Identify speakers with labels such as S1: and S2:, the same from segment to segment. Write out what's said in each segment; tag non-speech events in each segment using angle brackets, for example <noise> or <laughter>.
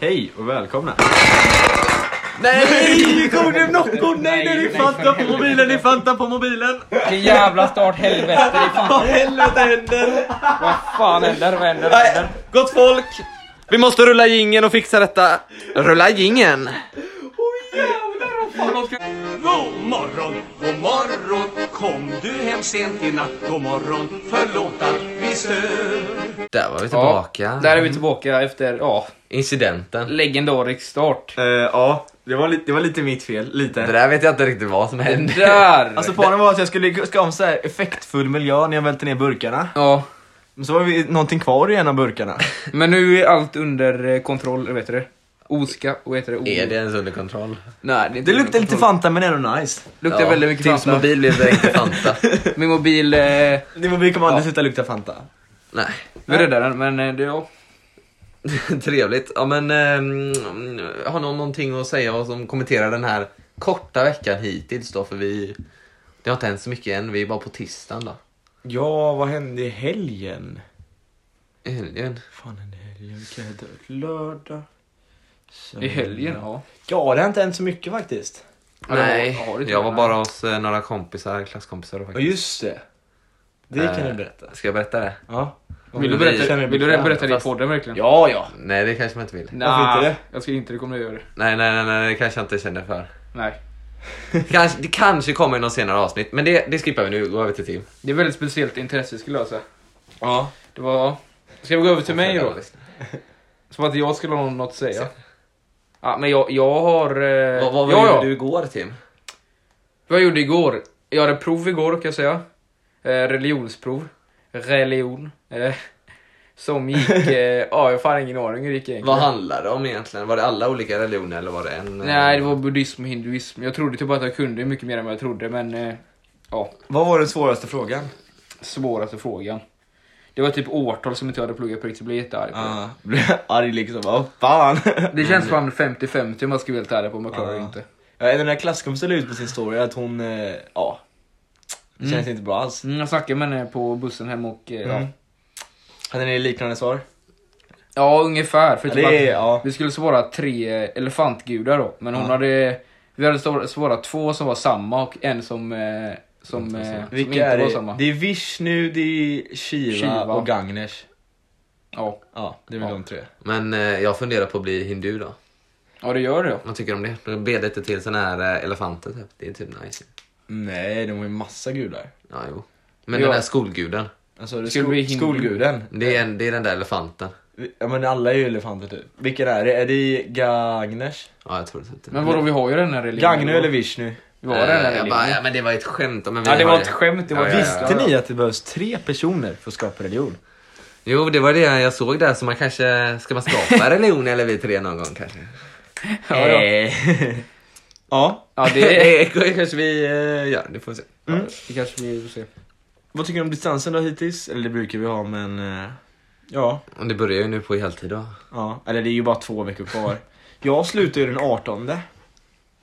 S1: Hej och välkomna!
S2: Nej! Gode Nocco! Nej, nej, det är Fanta på mobilen! Det är Fanta på mobilen!
S3: Vilken jävla start, helvete. Det är fan,
S2: Vad helvete händer?
S3: vad fan händer? Vad händer? Vad
S2: Nej,
S3: händer?
S2: gott folk! Vi måste rulla jingeln och fixa detta. Rulla jingeln!
S4: God morgon, god morgon Kom du hem sent i natt God morgon, förlåt att vi stör
S2: Där var vi
S3: Ja,
S2: tillbaka.
S3: där är vi tillbaka efter, ja,
S2: Incidenten.
S3: legendarisk start.
S1: Eh, ja, det var, li- det var lite mitt fel.
S2: Det
S1: Lite.
S2: där vet jag inte riktigt vad som hände.
S3: Där!
S1: <laughs> Alltså planen var att jag skulle ska ha en så här effektfull miljö när jag välte ner burkarna.
S3: Ja,
S1: Men så var vi någonting kvar i en av burkarna.
S3: men nu är allt under eh, kontroll, eller vad heter det? Oska, vad heter det? O-
S2: Är det ens under kontroll?
S3: Nej, det, är inte
S1: Det luktar
S3: under
S1: lite
S3: kontroll.
S1: Fanta men ändå nice.
S3: Luktar
S2: Ja,
S3: väldigt mycket
S2: Tims
S3: Fanta.
S2: mobil blev direkt
S3: <laughs>
S2: till Fanta.
S3: Min mobil, eh,
S1: Din mobil kommer aldrig sluta lukta Fanta.
S2: Nej. <laughs>
S3: vi räddar den, men eh, det, ja.
S2: Trevligt. Ja men, ehm, har någon någonting att säga och som kommenterar den här korta veckan hittills då? För vi, det har inte hänt så mycket än. Vi är bara på tisdagen då.
S1: Ja, vad hände i helgen?
S2: I helgen.
S1: fan hände i helgen? Vilka hände? Lördag?
S2: Mm,
S3: I helgen, ja.
S1: Ja, det har inte hänt så mycket faktiskt.
S3: Ja, det
S2: Nej,
S3: var- ja, det tror
S2: jag var
S3: jag.
S2: bara hos eh, några kompisar, klasskompisar då,
S1: Ja,
S2: faktiskt.
S1: just det. Det kan
S2: Eh,
S1: du berätta.
S2: Ska jag berätta det?
S1: Ja.
S3: Vill du berätta, vill du redan berätta det i
S2: Fast-
S3: podden verkligen?
S1: Ja, ja.
S2: Nej, det kanske man inte vill.
S1: varför inte det?
S3: jag ska inte rekommendera det.
S2: Nej, nej, nej, nej det kanske jag inte känner för.
S3: Nej.
S2: Kanske, det kanske kommer i något senare avsnitt, men det, det skippar vi nu. Gå över till Tim.
S3: Det är väldigt speciellt intresse vi ska lösa.
S1: Ja.
S3: Det var... Ska vi gå över till mig då? Som att jag skulle ha något att säga. Ja, men jag, jag har... Eh,
S2: Vad, vad
S3: ja,
S2: gjorde
S3: ja.
S2: du igår Tim?
S3: Vad jag gjorde igår? Jag hade prov igår kan jag säga. Eh, religionsprov. Religion. Eh,
S2: <laughs>
S3: som gick... eh, ja, jag har fan ingen aning hur det gick egentligen.
S2: Vad handlade det om egentligen? Var det alla olika religioner eller var det en? eh,
S3: Nej, det var buddhism och hinduism. Jag trodde typ att jag kunde mycket mer än vad jag trodde, men... eh, Ja,
S1: Vad var den svåraste frågan?
S3: svåraste frågan. Det var typ årtal som inte jag hade pluggat på riktigt, så jag blev jättearg på det.
S2: Ah.
S1: Ja. Blev arg liksom. Vad fan.
S3: Det känns fan 50-50 om jag ska vara helt ärlig på om jag klarar det
S1: Ja.
S2: Ah.
S3: inte.
S1: <laughs> Ja, den där klasskompisen la ut på sin story att hon, eh, ja. Det känns inte bra alls.
S3: Mm, jag snackade med henne på bussen hem och eh, ja.
S1: Mm. Hade ni liknande svar?
S3: ja, ungefär. För
S1: Ja,
S3: typ
S1: det är-
S3: att
S1: ja.
S3: Vi skulle svara tre elefantgudar då, men hon
S1: Ja.
S3: hade... Vi hade stor- svarat två som var samma och en som, eh, som, eh, som inte
S1: Vilka är
S3: var
S1: det?
S3: samma.
S1: Det är Vishnu, det är Shiva,
S3: Shiva.
S1: och Gagnesh.
S3: Ja.
S1: Ja, det är väl
S3: Ja.
S1: de tre.
S2: Men eh, jag funderar på att bli hindu då.
S3: ja, det gör det. ja.
S2: Vad tycker du om det? Då ber lite till såna här eh, elefanter typ. Det är typ nice.
S1: Nej, de har ju massa gudar.
S2: Ja, jo. Men
S3: Ja.
S2: den där skolguden.
S1: Alltså, det är
S3: Skulle
S1: sko-
S3: bli hindu.
S1: skolguden.
S2: Det är, en, det är den där elefanten.
S1: Ja men alla är ju elefanter typ. Vilken är det? Är det Gagnesh?
S2: Ja, jag tror det. Typ. Eh,
S3: Men vadå, vi har ju den här religionen.
S1: Gagnu eller Vishnu?
S3: Vi har den här
S2: jag
S3: religionen.
S2: bara, ja, men det var ett skämt. Men vi
S3: Ja, det
S2: har
S3: var ett skämt. Det var
S2: Ja, ja, ja.
S3: visst.
S1: Visste ni att det behövs tre personer för att skapa religion?
S2: Jo, det var det jag såg där. Så man kanske... Ska man
S3: <laughs>
S2: skapa religion eller vi tre någon gång kanske?
S3: Ja, ja.
S1: Eh. <laughs> ja.
S3: ja, det,
S2: Det kanske vi eh, gör. Det får vi se.
S1: Mm.
S3: det kanske vi får se.
S1: Vad tycker ni om distansen då hittills? Eller det brukar vi ha men... eh, Ja.
S2: Och det börjar ju nu på heltid då.
S1: ja. Eller det är ju bara två veckor kvar. Jag slutar ju den 18. När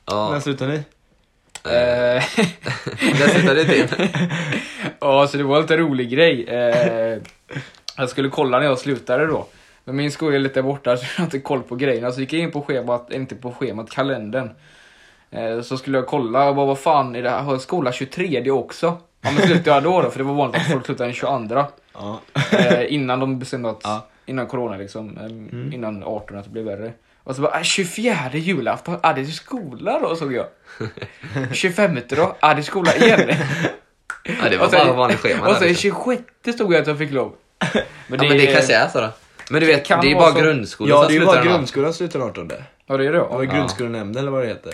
S2: Ja,
S1: slutar ni?
S3: Eh, <laughs>
S2: där slutar det typ. till.
S3: Ja, så det var en lite rolig grej. Eh, jag skulle kolla när jag slutade då. Men min skola är lite borta <laughs> så jag har inte koll på grejerna. Så gick jag in på schemat, eller inte på schemat, kalendern. Eh, så skulle jag kolla och bara vad fan är det här? Har jag skola 23 också? Ja men slutar jag då då? För det var vanligt att folk slutade den 22.
S1: Ja.
S3: Eh, innan de bestämde att,
S1: Ja.
S3: innan corona liksom, eh, innan 18 att det blev värre. Och så bara, äh, 24 julafton, ah det är skola då såg jag. 25 då, ah det är skola igen.
S2: Ja, det var
S3: Och sen-
S2: bara vanligt schema.
S3: Och
S2: där,
S3: sen
S2: liksom.
S3: 26 stod jag att jag fick lov. Men
S2: Ja, men det kanske är så då. Men du vet, det
S3: kan
S2: är
S3: vara
S2: bara
S3: så.
S2: grundskolan
S1: Ja
S2: som
S1: det är ju
S2: slutar
S1: bara
S2: den här.
S1: grundskolan slutar den 18. Det
S3: Ja det är det
S1: var
S3: ja.
S1: ju grundskolenämnden eller vad det heter.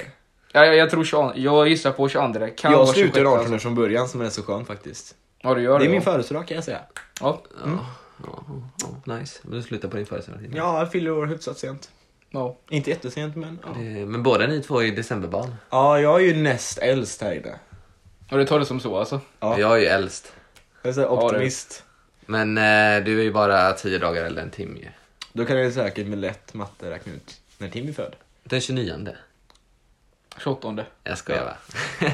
S3: ja jag, jag tror 22, jag gissar på 22. Kan vara
S1: Jag slutar
S3: 26,
S1: den 18
S3: alltså.
S1: från början som är så skönt faktiskt.
S3: Ja du gör det.
S1: Det är min
S3: ja.
S1: födelsedag kan jag säga.
S3: Ja.
S2: Ja, ja, ja, nice. Men du slutar på din födelsedag.
S1: Ja, jag fyller år hyfsat sent.
S3: ja.
S1: Inte jättesent men... Ja.
S2: Eh, Men båda ni två är decemberbarn.
S1: ja, jag är ju näst äldst här inne.
S3: Och det tar det som så alltså.
S1: Ja.
S2: Jag är ju äldst.
S1: Jag är så här
S3: det är-
S1: optimist.
S2: Men eh, du är ju bara tio dagar eller en timme ju.
S1: Då kan jag säkert med lätt matte räkna ut när Tim är född.
S2: Den 29.
S3: 28.
S2: Jag skojar va?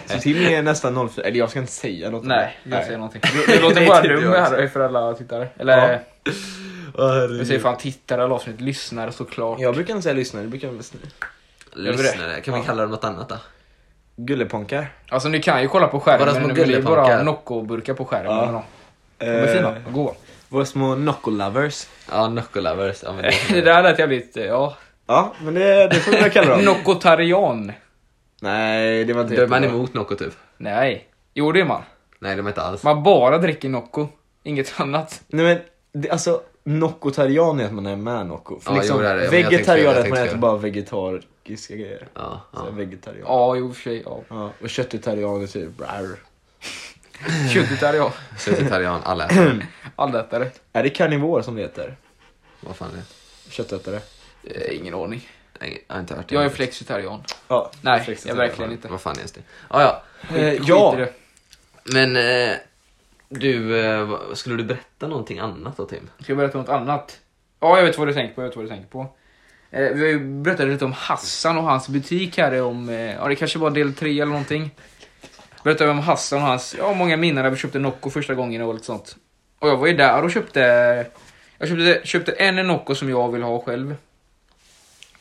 S1: Så Timmy är nästan 04, eller jag ska inte säga något. om
S3: Nej,
S1: det.
S3: jag
S1: <laughs>
S3: säger någonting. Det- Det låter
S2: Nej,
S3: bara
S2: det gör
S3: dum
S2: jag
S3: här för alla tittare. Eller,
S1: Ja.
S3: vi säger fan tittare, alla avsnitt, lyssnare såklart.
S1: Jag brukar inte säga lyssnare, jag brukar mest-
S2: Lyssnare, kan vi kalla dem något annat då?
S1: Gulleponkar.
S3: Alltså ni kan ju kolla på
S2: Bara
S3: skärmen
S2: små
S3: nu, men det är
S2: gullepankar.
S3: bara Nocco-burkar på skärmen.
S1: Ja. Eh.
S3: eller nåt. De är fina,
S2: Eh,
S3: och goa.
S1: Våra små knockolovers.
S2: Ja, Noccolovers. <laughs> Ja, men
S3: <laughs> Det
S2: det-
S3: där lät jävligt, eh, ja.
S1: Ja, men det, det får vi väl
S2: <laughs>
S1: kalla dem.
S3: Noccotarian.
S1: Nej, det var inte
S2: Då är man
S1: jättebra.
S2: emot Nocco typ?
S3: Nej. Jo det är man.
S2: Nej, de är inte alls.
S3: Man bara dricker Nocco. Inget annat.
S1: Nej men, det, alltså Noccotarian är att man är med Nocco. För
S2: Ja,
S1: liksom,
S2: jo, det är det. Men jag tänkte fel,
S1: vegetarian
S2: jag
S1: är att man
S2: tänkte
S1: äter
S2: fel.
S1: bara vegetariska grejer.
S2: Ja,
S1: Så här,
S2: ja.
S1: vegetarian. Ja.
S3: Ja, jo i och för sig. Ja.
S1: och köttitarian är typ brr.
S3: <laughs> Köttitarian.
S2: Vegetarian, alla äter.
S3: Allätare.
S1: Är det karnivor som det heter?
S2: Vad fan är det?
S1: Köttätare?
S3: Eh, Ingen aning.
S2: Nej, jag har inte hört det.
S3: Jag är flexitarian.
S1: Ja.
S3: Nej, jag är
S1: flexitarian.
S3: verkligen inte.
S2: Vad fan är ens det? Ja, ja.
S1: Eh,
S3: Skit- skit i
S1: ja,
S3: det.
S2: Men eh, du, eh, vad- skulle du berätta någonting annat då Tim?
S3: Ska jag berätta något annat? Ja, jag vet vad du tänker på. Jag vet vad du tänker på. Eh, vi har ju berättat lite om Hassan och hans butik här. Om, eh, ja, det kanske var del tre eller någonting. Berättade vi om Hassan och hans, ja, många minnen när vi köpte Nocco första gången och lite sånt. Och jag var ju där och köpte, jag köpte, köpte en Nocco som jag vill ha själv.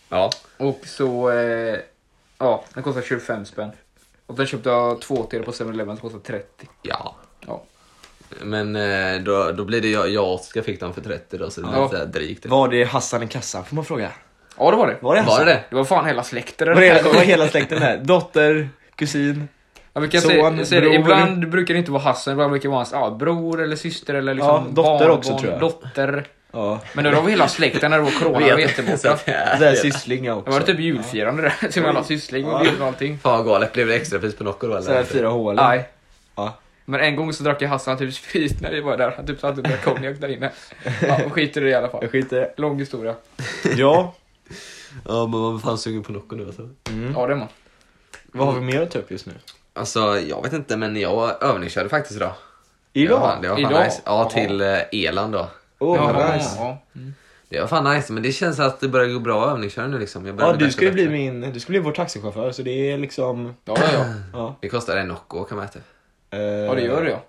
S2: Ja.
S3: Och så, eh, ja, den kostar 25 spänn. Och sen köpte jag två till på 7-Eleven, den kostar 30.
S2: Ja.
S3: Ja.
S2: Men eh, då, då blir det jag, jag och Oskar fick dem för 30 då, så det blir
S3: Ja.
S2: lite sådär drygt.
S1: var det Hassan i kassan? Får man fråga?
S3: Ja, det var det.
S1: Var det
S2: Var
S1: Hassan?
S2: det det?
S3: Det var fan hela släkten.
S1: Var det hela, var hela släkten där? Dotter, kusin.
S3: Ja, vi kan
S1: Son,
S3: säga, säga det,
S1: bror.
S3: ibland brukar det inte vara Hassan, ibland brukar det vara hans ja, bror eller syster eller liksom
S1: Ja, dotter också, tror jag.
S3: Dotter.
S1: Ja.
S3: Men då var vi hela släkten när det var corona, vi var
S2: Så
S3: jätteborta.
S2: att, ja.
S1: Det är sysslingar också.
S3: Äh, Det var typ julfirande där, <laughs> till alla syssling och
S1: Ja.
S3: bjöd på allting.
S2: Fan vad galet, blev det extrapris på Nocco då eller?
S1: Så här fyra hål.
S3: Nej.
S1: Ja.
S3: Men en gång så drack jag Hassan typ sprit när vi var där, han typ satt och drack konjak där inne. Ja, skit i det i alla fall.
S1: Jag skiter i det.
S3: Lång historia.
S1: Ja,
S2: Ja men man är fan sugen på Nocco nu alltså.
S1: Mm.
S3: Ja, det är man.
S1: vad har vi mer att ta upp just nu?
S2: Alltså jag vet inte men jag övningskörde faktiskt idag. Det var, fan-
S1: Idag?
S2: det var fan
S3: Idag?
S2: nice. Ja,
S3: Jaha.
S2: till eh, Eland då.
S1: Åh,
S3: Ja,
S1: vad nice.
S3: ja.
S2: Det var fan nice, men det känns att det börjar gå bra att övningsköra nu liksom. Jag börjar
S1: Ja,
S2: bli
S1: du
S2: bättre
S1: ska ju
S2: och bättre.
S1: bli min, du ska bli vår taxichaufför så det är liksom,
S3: Ja, ja, ja.
S1: ja.
S2: Det kostar en Nocco att åka med typ.
S1: <laughs> eh,
S3: Ja, det gör det ja.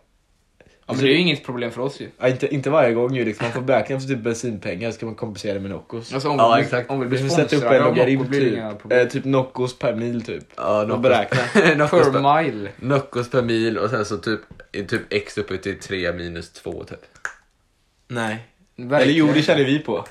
S3: Ja, men Alltså, det är ju inget problem för oss ju.
S1: ja, inte, inte varje gång ju liksom, man får beräkna för typ bensinpengar så ska man kompensera det med Noccos.
S3: Alltså om,
S2: Ja,
S3: vi,
S2: exakt.
S3: blir, om vi
S1: Du
S3: blir
S1: får sätta upp
S3: sponsrade
S1: en
S3: av Nocco
S1: logaritm
S3: blir det inga
S1: typ,
S3: problem.
S1: eh, typ Noccos per mil typ.
S2: Ja,
S1: Och beräkna.
S2: Noccos per,
S3: Per mile.
S2: Noccos per mil och sen så typ, är typ x uppe till 3 minus 2 typ.
S1: <laughs> Nej. Eller
S3: Verkligen.
S1: jo, det känner vi på.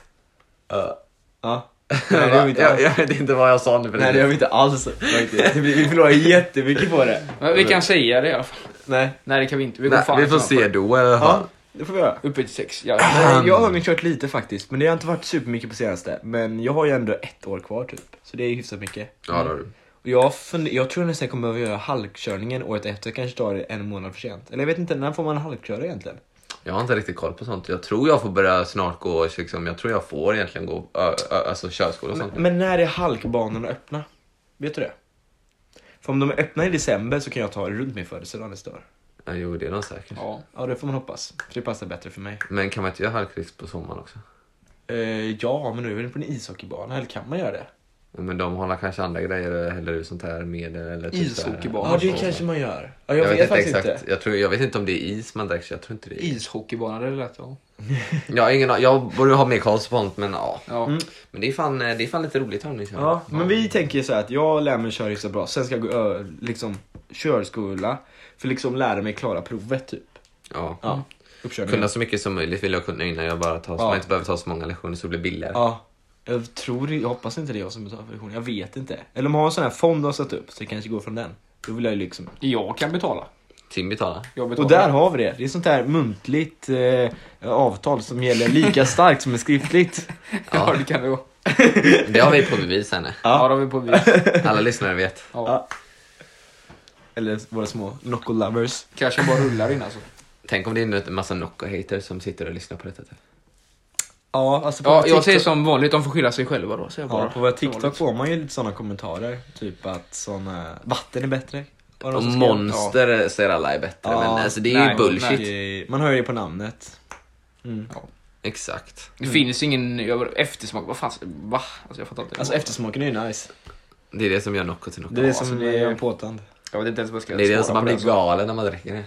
S2: Ja.
S1: Ja. Nej, det gör vi inte
S2: jag,
S1: alls.
S2: jag vet inte vad jag sa nu för
S1: Nej, det gör vi inte alls. faktiskt. Det blir- <laughs> Vi förlorar jättemycket på det.
S3: Men vi kan säga det i alla fall.
S1: Nej.
S3: Nej det kan vi inte. Vi går
S2: Nej,
S3: fan
S2: vi får
S3: snabbt.
S2: se då i alla fall.
S1: Ja, det får vi göra.
S3: Uppe till sex. Ja.
S1: Nej, jag har nog kört lite faktiskt, men det har inte varit supermycket på senaste. Men jag har ju ändå ett år kvar typ, så det är hyfsat mycket.
S2: Ja, då har du.
S1: Och jag, fund- jag tror nästan jag kommer behöva göra halkkörningen året efter, kanske tar det en månad för sent. Eller jag vet inte, när får man halkköra egentligen?
S2: Jag har inte riktigt koll på sånt. Jag tror jag får börja snart gå, liksom, jag tror jag får egentligen gå ö, ö, alltså, körskola och sånt.
S1: Men när är halkbanorna öppna? Vet du det? För om de är öppna i december så kan jag ta det runt min födelsedag nästa år.
S2: Ja, jo, det är de säkert.
S3: Ja.
S1: Ja, det får man hoppas. För det passar bättre för mig.
S2: Men kan man inte göra halkrisk på sommaren också?
S1: Eh, ja, men nu är vi på en ishockeybana, eller kan man göra det?
S2: Men de har kanske andra grejer eller häller ut sånt här medel eller typ så här-
S3: Ishockeybanor.
S1: Ja, det kanske man gör. Ja, jag,
S2: Jag,
S1: vet,
S2: vet inte
S1: faktiskt
S2: exakt.
S1: inte.
S2: Jag, tror, jag vet inte om det är is man dricker. så Jag tror inte det är is.
S3: Ishockeybana, det lät ja.
S2: Jag, har ingen, an- jag borde ha mer koll på sånt men ja.
S3: ja.
S2: Men det är fan, eh, det är fan lite roligt om ni känner.
S1: Ja, men vi tänker så här att jag lär mig köra hyfsat bra, sen ska jag gå ö, liksom körskola för liksom lära mig klara provet typ.
S2: Ja.
S1: Ja, uppkörningen.
S2: Kunna så mycket som möjligt vill jag kunna innan jag bara tar, så
S1: Ja.
S2: man inte behöver ta så många lektioner så det blir billigare.
S1: Ja. Jag tror, jag hoppas inte det är jag som betalar för lektionen, jag vet inte. Eller om jag har en sån här fond de har satt upp så det kanske går från den. Då vill jag ju liksom...
S3: Jag kan betala.
S2: Tim betalar.
S3: Jag betalar.
S1: Och där har vi det, det är sånt här muntligt eh, avtal som gäller lika starkt som är skriftligt.
S3: Ja, det kan det vara.
S2: Det har vi på bevis henne.
S3: Ja, det har vi på bevis.
S2: Alla lyssnare vet.
S3: Ja.
S1: Ja. Eller våra små Nocco lovers.
S3: Kanske bara rullar in alltså.
S2: Tänk om det är en massa Nocco-haters som sitter och lyssnar på detta. typ.
S1: Ja, alltså på
S3: Ja,
S1: vår
S3: jag säger
S1: TikTok-
S3: som vanligt, de får skylla sig själva då. Säger jag bara.
S1: Ja, på våra TikTok får man ju lite såna kommentarer. Typ att såna... vatten är bättre. var det
S2: Och
S1: någon som skrev.
S2: monster säger alla är bättre
S1: Ja.
S2: men alltså det är
S3: Nej,
S2: ju bullshit.
S3: nej.
S1: Det- Man hör ju det på namnet.
S2: Exakt.
S3: Det finns ingen jag- eftersmak. Vad fan? Va? Alltså jag fattar inte.
S1: Alltså eftersmaken är ju nice.
S2: Det är det som gör Nocco till Nocco.
S1: Det är
S2: Det,
S1: det som
S3: alltså, det-
S1: är en påtand.
S3: Jag vet inte ens vad jag ska
S2: är det
S3: svara
S2: som
S3: på
S2: man blir
S3: alltså.
S2: galen när man dricker det.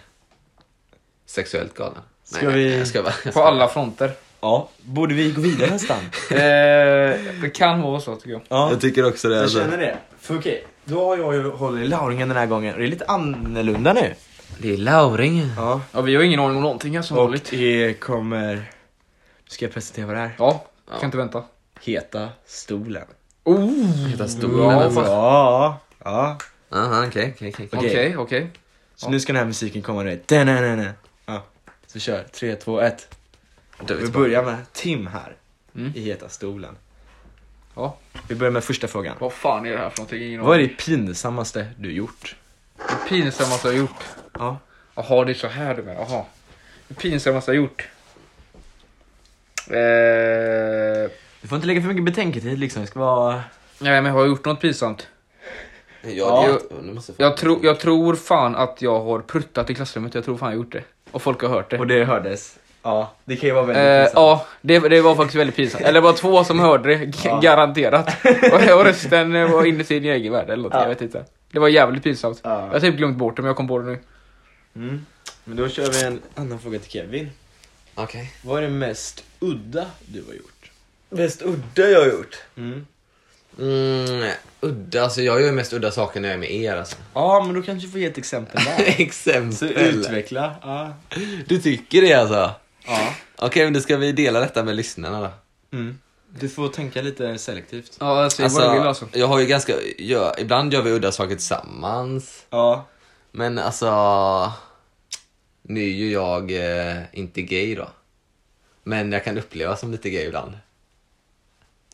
S2: Sexuellt galen.
S1: Ska vi-
S2: Jag ska bara, jag
S3: På
S2: ska
S3: alla fronter.
S1: Ja, borde vi gå vidare nästan?
S3: Eh, det kan vara så tycker jag.
S1: Ja,
S2: Jag tycker också det.
S1: jag
S2: Alltså.
S1: känner det. För okej, då har jag ju hållit i lauringen den här gången och det är lite annorlunda nu.
S2: Det är Lauring.
S1: Ja.
S3: Ja, vi har ingen aning om någonting här som
S1: Och
S3: vanligt.
S1: det kommer... Nu ska jag presentera vad det är.
S3: Ja, kan inte vänta.
S1: Heta stolen.
S3: Oh!
S2: Hitta
S3: Ja,
S2: stolen.
S3: fast-
S1: Ja, ja.
S2: Jaha, okej, okej, okej.
S1: Okej.
S3: Okej, okej.
S1: Så nu ska den här musiken komma nu. Da-na-na-na. Ja. Så kör, 3, 2, 1.
S2: Då är vi
S1: Vi
S2: tillbaka.
S1: börjar med Tim här.
S3: Mm.
S1: I Heta stolen.
S3: Ja.
S1: Vi börjar med första frågan.
S3: Vad fan är det här för någonting? Ingen
S1: Vad är
S3: aning.
S1: det pinsammaste du gjort?
S3: Det pinsammaste jag har gjort.
S1: Ja.
S3: Jaha, det är så här du menar. Jaha. Det pinsammaste jag har gjort. Eh,
S1: Du får inte lägga för mycket betänketid liksom. Det ska vara...
S3: nej, men har jag gjort något pinsamt?
S2: Ja,
S3: Ja.
S2: det- nu måste jag få-
S3: Jag, tro, jag tror fan att jag har pruttat i klassrummet. Jag tror fan jag har gjort det. Och folk har hört det.
S1: Och det hördes. Ja, det kan ju vara väldigt
S3: Eh,
S1: pinsamt.
S3: ja, det, det var faktiskt väldigt pinsamt. Eller det var två som hörde det, g-
S1: <laughs> Ja.
S3: garanterat. Och, och resten eh, var inne i sin egen värld eller något,
S1: Ja.
S3: jag vet inte. Det var jävligt pinsamt.
S1: Ja.
S3: Jag har typ glömt bort det men jag kom på det nu.
S1: Mm. Men då kör vi en annan fråga till Kevin.
S2: Okej.
S1: Vad är det mest udda du har gjort?
S2: Mest udda jag har gjort?
S1: Mm.
S2: Mm, udda, alltså jag gör ju mest udda saker när jag är med er alltså.
S1: Ja, men då kanske du får ge ett exempel
S3: <laughs>
S1: där. Så
S2: <laughs> Exempel.
S1: utveckla. Ja.
S2: Du tycker det alltså?
S1: ja.
S2: Okej, men då ska vi dela detta med lyssnarna då.
S1: Mm. Du får tänka lite selektivt.
S3: Ja, alltså, vad du vill alltså.
S2: jag har ju ganska, jag, ibland gör vi udda saker tillsammans.
S1: Ja.
S2: Men alltså, nu är ju jag eh, inte gay då. Men jag kan uppleva som lite gay ibland.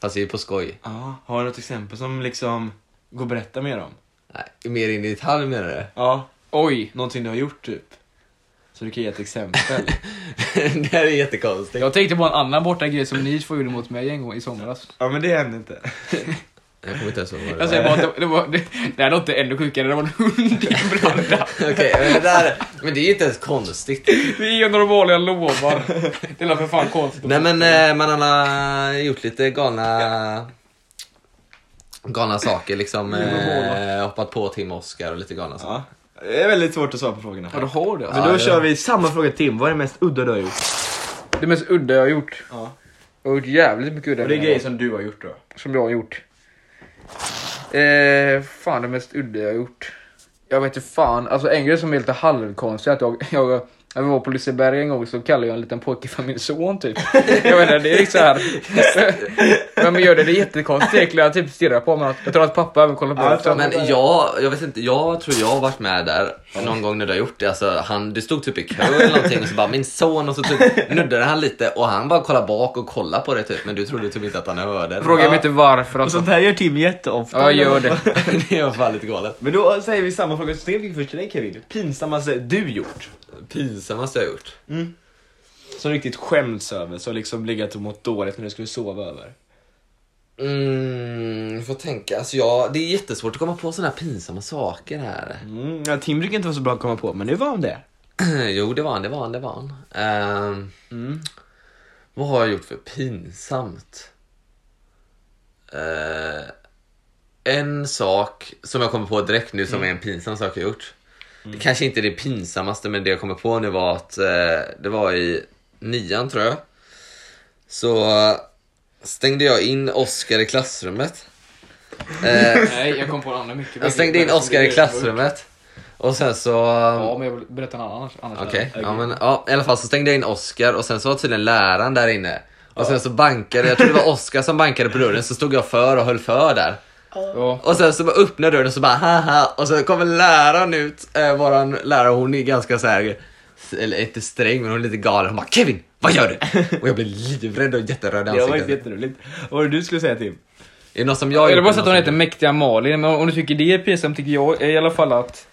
S2: Fast det är ju på skoj.
S1: ja. Har du något exempel som liksom går att berätta mer om?
S2: Nej, mer in i detalj menar du? <laughs>
S1: Ja.
S3: Oj.
S1: Någonting du har gjort typ. Så du kan ge ett
S3: <laughs>
S1: exempel.
S2: det här är jättekonstigt.
S3: Jag tänkte på en annan borta grej som ni två gjorde mot mig en gång i somras.
S1: ja, men det hände inte.
S2: Jag kommer inte ens ihåg vad det
S3: Jag säger bara att det, det var, det, det här låter ännu sjukare, det var en hund i en branda.
S2: var. <laughs> Okej, men det där, men det är ju inte ens konstigt.
S3: Det är normalt, jag lovar. Det låter för fan konstigt.
S2: Nej men eh, man har alla gjort lite galna galna saker liksom.
S3: Mm,
S2: Eh, hoppat på Tim och Oscar och lite galna saker.
S1: Ja. Det är väldigt svårt att svara på frågorna.
S3: Ja, du har det
S1: Men
S3: alltså.
S1: då
S2: Ja, det-
S1: kör vi samma fråga till Tim. Vad är det mest udda du har gjort?
S3: Det mest udda jag har gjort.
S1: Ja.
S3: Jag har gjort jävligt mycket udda.
S1: Och det är
S3: grejer.
S1: grejer som du har gjort då?
S3: som jag har gjort. Eh, fan det mest udda jag har gjort. Jag vet inte fan, alltså en grej som är lite halvkonstig är att jag, jag när vi var på Liseberg en gång så kallade jag en liten pojke för min son typ. Jag menar det är liksom så här. Men man gör det, det är jättekonstigt egentligen. Jag typ stirrar på honom. Jag tror att pappa även kollar på
S1: Ja,
S3: det också.
S1: fan.
S2: Men jag, jag vet inte, jag tror jag har varit med där någon gång när du har gjort det. Alltså, han, du stod typ i kö eller någonting och så bara min son och så
S3: <laughs>
S2: typ nuddade han lite och han bara kollade bak och kollade på det typ. Men du trodde typ inte att han hörde. det.
S3: Fråga
S1: Ja.
S3: mig inte varför
S1: Och
S3: alltså.
S1: sånt här gör Tim jätteofta.
S3: Ja jag gör det.
S2: <laughs> det är fan lite galet.
S1: <laughs> Men då säger vi samma fråga som Tim fick först till dig Kevin. Pinsammaste du gjort?
S2: Pinsammaste jag har gjort.
S1: Som riktigt skämts över, som liksom legat och mått dåligt när du skulle sova över.
S2: Mm, jag får tänka. Alltså jag, det är jättesvårt att komma på sådana här pinsamma saker här.
S1: Mm, ja, Tim brukar inte vara så bra att komma på, men nu var han det.
S2: <clears throat> jo, det var han, det var han, det var han. Ehm, Vad har jag gjort för pinsamt? Eh, en sak som jag kommer på direkt nu som är en pinsam sak jag gjort. Det kanske inte är det pinsammaste, men det jag kommer på nu var att eh, det var i nian tror jag. Så eh, stängde jag in Oscar i klassrummet. Eh,
S3: Nej jag kom på en annan mycket.
S2: jag stängde in
S3: alltså,
S2: Oscar i klassrummet. Och sen så...
S3: Ja men jag vill berätta en annan annars.
S2: Okej, ja, men ja, i alla fall så stängde jag in Oscar och sen så var tydligen läraren där inne. Och sen så bankade, jag tror det var Oscar som bankade på dörren, så stod jag för och höll för där.
S3: Ja.
S2: Och sen så bara öppnade dörren och så bara haha och så kommer läraren ut, eh, våran lärare hon är ganska så här eller inte sträng men hon är lite galen. Hon bara Kevin, vad gör du? Och jag blev livrädd och jätteröd i
S1: Det var
S2: ansiktet.
S1: faktiskt jätteroligt. Vad var det du skulle säga Tim?
S2: Är det något som jag
S3: Eller
S2: gjort
S3: bara så att hon
S2: något
S3: heter
S2: som-
S3: Mäktiga Malin, men om du tycker det är pinsamt tycker jag i alla fall att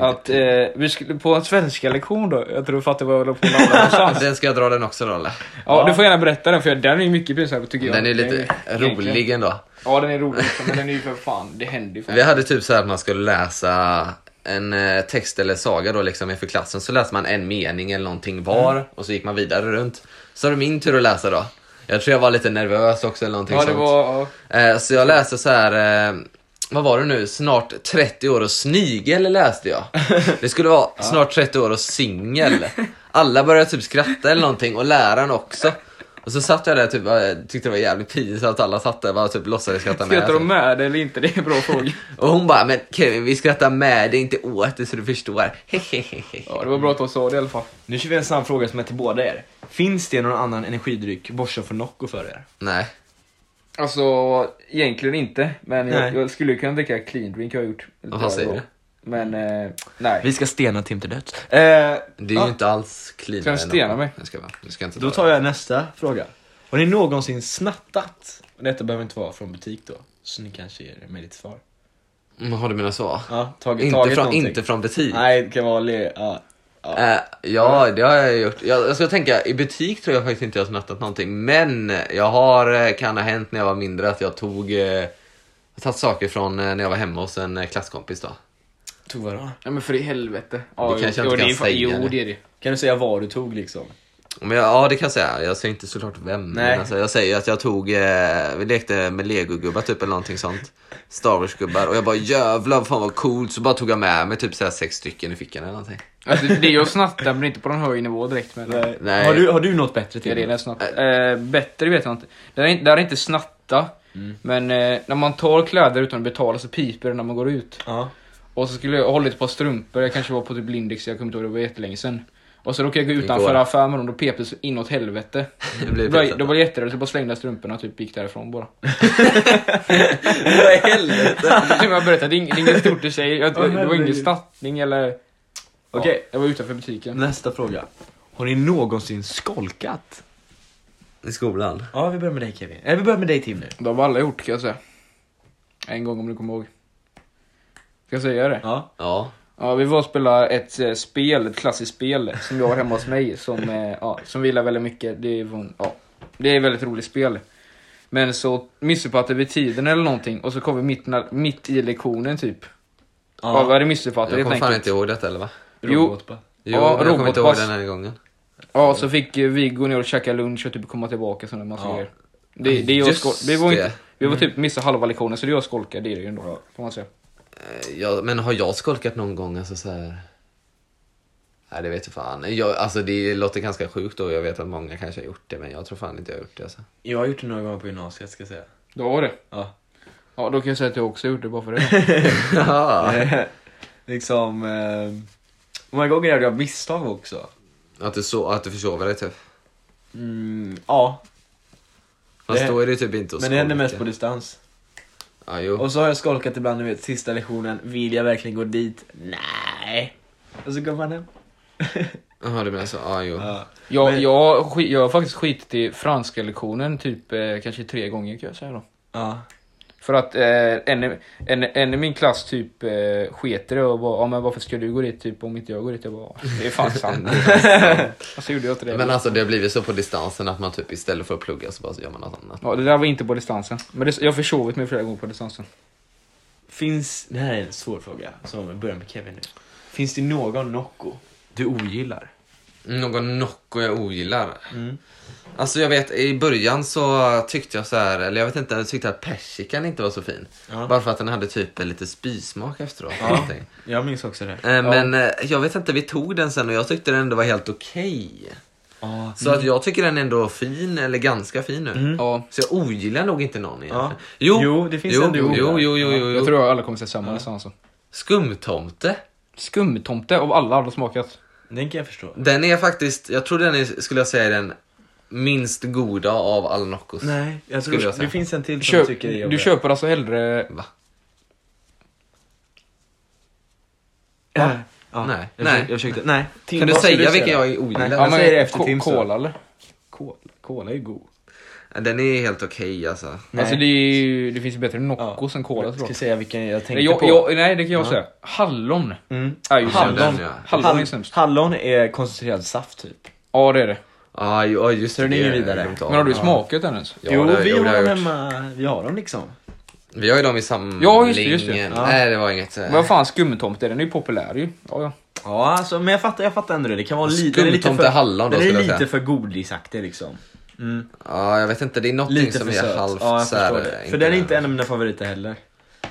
S3: att eh, vi skulle på en svenska lektion då, jag tror du fattar vad jag håller på med
S2: <laughs>
S3: någonstans.
S2: Den ska jag dra den också då eller?
S3: Ja, du får gärna berätta den för den är ju mycket pinsam tycker jag.
S2: Den är
S3: ju-
S2: lite rolig
S3: egentligen-
S2: ändå.
S3: Ja den är rolig också, men den är ju för fan, det händer ju fan.
S2: Vi hade typ så här att man skulle läsa en eh, text eller saga då liksom inför klassen. Så läste man en mening eller någonting var
S3: Mm.
S2: och så gick man vidare runt. Så var det min tur att läsa då. Jag tror jag var lite nervös också eller någonting
S3: Ja det
S2: sånt.
S3: var, ja.
S2: Eh, Så jag läste så här eh, vad var det nu, snart 30 år och snigel läste
S3: <laughs>
S2: jag. Det skulle vara snart 30 år och singel. Alla började typ skratta eller någonting och läraren också. Och så satt jag där typ, eh, tyckte det var jävligt pinsamt att alla satt där och bara typ låtsades skratta med.
S3: Skrattar de
S2: Alltså.
S3: med det eller inte? Det är en bra fråga.
S2: Och hon bara, men Kevin vi skrattar med dig, inte åt dig så du förstår. <laughs> Hehehehe.
S3: Ja, det var bra att de sa det i alla fall.
S1: Nu kör vi en snabb fråga som är till båda er. Finns det någon annan energidryck bortsett från Nocco för er?
S2: Nej.
S3: Alltså, egentligen inte. Men jag,
S1: Nej.
S3: jag skulle kunna dricka clean drink har jag gjort.
S2: Vad säger du?
S3: Men, eh, nej.
S1: Vi ska stena Tim till döds. Eh,
S2: Det är
S1: ja,
S2: ju inte alls clean.
S3: Ska jag stena mig?
S2: Jag ska, bara- jag ska inte
S1: Då tar jag nästa fråga. Har ni någonsin snattat? Och Detta behöver inte vara från butik då, så ni kanske ger mig lite svar.
S2: Mm, Har du mina svar?
S1: Ja, tagit,
S2: Inte
S1: tagit
S2: från,
S1: någonting.
S2: inte från butik?
S1: Nej, det kan vara le- ja.
S2: Eh, ja, det har jag gjort. Jag, jag ska tänka, i butik tror jag faktiskt inte jag har snattat någonting. Men jag har, eh, kan ha hänt när jag var mindre att jag tog eh, jag har tagit saker från eh, när jag var hemma hos en eh, klasskompis då.
S1: Tog vadå?
S3: Nej men för i helvete. Ja,
S2: Det kanske jag
S3: jo,
S2: inte
S3: det är
S2: kan
S3: ju fan-
S2: säga,
S3: Jo,
S2: eller?
S3: det är det.
S1: Kan du säga vad du tog liksom?
S2: Men jag, ja, det kan jag säga. Jag säger inte såklart vem. men
S1: Nej.
S2: Alltså, jag säger att jag tog, eh, vi lekte med legogubbar typ eller någonting sånt. Star Wars-gubbar. Och jag bara jävlar fan vad coolt. Så bara tog jag med mig typ så här sex stycken i fickan eller någonting. <laughs>
S3: Alltså, det är ju att snatta men inte på någon hög nivå direkt. Men,
S2: Nej.
S1: Har, du, har du något bättre
S3: Det är
S1: till?
S3: det den snattar. Eh, bättre vet jag inte. Det är, inte- det här är inte snatta. Men eh, när man tar kläder utan att betala så piper det när man går ut.
S1: Ja.
S3: Och så skulle jag hålla ett par strumpor, jag kanske var på typ Lindex, jag kommer inte ihåg, det var jättelänge sedan. Och så råkade jag gå utanför
S2: Igår.
S3: affären med dem, då pep det så inåt helvete.
S2: Det
S3: Då
S2: blev typ
S3: var-
S2: pinsamt.
S3: Då var det jätterädd, så jag bara slängde jag strumporna och typ gick därifrån bara.
S2: Vad i helvete?
S3: Det är som jag berättade, det är ing- det är inget stort i sig. Jag,
S1: Åh,
S3: det var ingen
S1: herregud.
S3: snattning eller...
S1: <laughs> Okej.
S3: Ja, jag var utanför butiken.
S1: Nästa fråga. Har ni någonsin skolkat?
S2: I skolan.
S1: Ja, vi börjar med dig Kevin. Eller vi börjar med dig Tim nu.
S3: Det har alla gjort kan jag säga. En gång om du kommer ihåg. Ska jag säga det?
S1: Ja.
S2: Ja.
S3: Ja, vi var och spelade ett eh, spel, ett klassiskt spel som jag har hemma hos mig som, eh, ja, som vi gillar väldigt mycket. Det är, vår- ja, det är ett väldigt roligt spel. Men så missuppfattade vi tiden eller någonting och så kom vi mitt, när- mitt i lektionen typ. Ja, vi hade missuppfattat
S2: Jag
S3: helt
S2: kommer fan
S3: enkelt.
S2: inte ihåg detta eller va?
S3: Jo,
S1: Robot, bara.
S2: Jo,
S3: Ja,
S2: men jag kommer inte ihåg
S3: robotpass.
S2: den här gången.
S3: ja, så fick eh, vi gå ner och käka lunch och typ komma tillbaka sådana massa
S1: Ja.
S3: grejer. Det, det, är jag
S2: Just
S3: skol- vi var inte,
S2: det. Mm.
S3: vi var typ missade halva lektionen så det är jag skolkar, det är det ju ändå. Får man säga.
S2: Eh, Ja, men har jag skolkat någon gång? Alltså så här... Nej, det vet jag fan. Jag, alltså, det låter ganska sjukt och jag vet att många kanske har gjort det, men jag tror fan inte jag har gjort det. Alltså. <laughs>
S1: Jag har gjort det några gånger på gymnasiet ska jag säga.
S3: Då var det.
S1: Ja.
S3: Ja, då kan jag säga att jag också gjort det bara
S1: <laughs>
S3: för det.
S1: Eh, liksom, eh, många gånger gör jag misstag också.
S2: att, du så, att du försover dig typ.
S1: Mm, ja,
S2: Fast
S1: Det-
S2: då är det typ inte att
S1: men det händer
S2: skolka.
S1: mest på distans.
S2: Ja, jo.
S1: Och så har jag skolkat ibland, du vet, sista lektionen. Vill jag verkligen gå dit? Nej. Och så går man hem.
S2: Jaha, du menar så. Ja, jo.
S1: Ja.
S3: Jag,
S1: Men-
S3: jag, sk- jag har faktiskt skitit i franska lektionen typ eh, kanske tre gånger kan jag säga då.
S1: ja.
S3: För att eh, en, i- en, en i min klass typ eh, sket i det och bara, ja men varför ska du gå dit typ om inte jag går dit? Jag bara, "Ja, det är
S1: <laughs>
S3: fan sant. och så gjorde jag inte det.
S2: Men alltså, det har blivit så på distansen att man typ istället för att plugga så bara så gör man något annat.
S3: ja, det där var inte på distansen. Men det, jag har försovit mig flera gånger på distansen.
S1: Finns, det här är en svår fråga, som vi börjar med Kevin nu. Finns det någon Nocco du ogillar?
S2: Någon Nocco jag ogillar?
S1: Mm.
S2: Alltså jag vet, i början så tyckte jag så här, eller jag vet inte, jag tyckte att persikan inte var så fin.
S1: Ja.
S2: Bara för att den hade typ lite spysmak efteråt. eller någonting.
S1: Jag minns också det.
S2: Eh, Men eh, jag vet inte, vi tog den sen och jag tyckte den ändå var helt okej.
S1: Ja.
S2: Så att jag tycker den är ändå fin, eller ganska fin nu.
S3: Ja.
S2: Så jag ogillar nog inte någon egentligen.
S1: Mm. Ja. Jo, det finns
S2: jo,
S1: en du
S2: jo,
S1: ogillar.
S2: jo, jo, jo, jo.
S3: Jag tror jag alla kommer säga samma nästan alltså.
S2: Skumtomte.
S3: Skumtomte av alla har smakat.
S1: Den kan jag förstå.
S2: Den är faktiskt, jag tror den är, skulle jag säga, är den minst goda av alla Noccos.
S1: Nej, jag
S2: Skulle
S1: tror
S2: jag säga.
S1: det finns en till som
S3: Köp,
S1: du tycker är
S3: du
S1: jobbig.
S3: köper alltså hellre...
S2: Va?
S1: Ja. Äh, Ja.
S2: Nej.
S1: Jag
S2: Nej.
S1: försökte- Jag försökte, nej. Tim,
S2: Kan du
S1: vad ska
S2: säga vilken jag
S1: Nej.
S2: ogillar?
S1: Ja, men-
S2: Alltså,
S1: säger det efter
S3: ko-
S1: Tim, så.
S3: Cola eller?
S1: Cola, cola är ju god.
S2: Den är helt okej alltså.
S1: Nej.
S3: Alltså det, är ju, det finns ju bättre Nocco än Cola
S1: Jag
S3: tror
S1: ska
S3: jag.
S1: säga vilken jag tänkte
S3: Nej, jag,
S1: på.
S3: jag, nej det kan jag säga. Hallon.
S1: Mm.
S3: Är ju
S2: Hallon,
S3: sämst.
S2: ja.
S3: Hallon är sämst.
S1: hallon är koncentrerad saft typ.
S3: Ja det är det.
S2: Ja, Ah, ju- ja, just
S1: Så den är
S2: det,
S1: ingen vidare.
S2: jag glömt av.
S3: Men har du
S2: Ja.
S3: smakat den ens?
S2: Ja,
S1: jo,
S2: det-
S1: vi
S2: jo, det
S1: har
S2: jag
S1: dem
S2: gjort.
S1: hemma. Vi har dem liksom.
S2: Vi har ju dem i samlingen.
S3: Ja, just det, just det.
S1: Ja.
S2: Nej, det var inget. eh,
S3: Men vad fan skumtomte, den är ju populär ju. Ja, ja.
S1: Ja, alltså, men jag fattar, jag fattar ändå det. Det kan vara li-
S2: Skumtomte
S1: den är lite för,
S2: hallon då,
S1: den är
S2: skulle jag
S1: lite
S2: säga.
S1: för godisaktig liksom.
S2: Ja, Ah, jag vet inte. Det är någonting
S1: Lite
S2: som
S1: för
S2: är
S1: söt.
S2: halvt
S1: ja, jag
S2: så här,
S1: förstår det. För den är inte en av mina favoriter heller.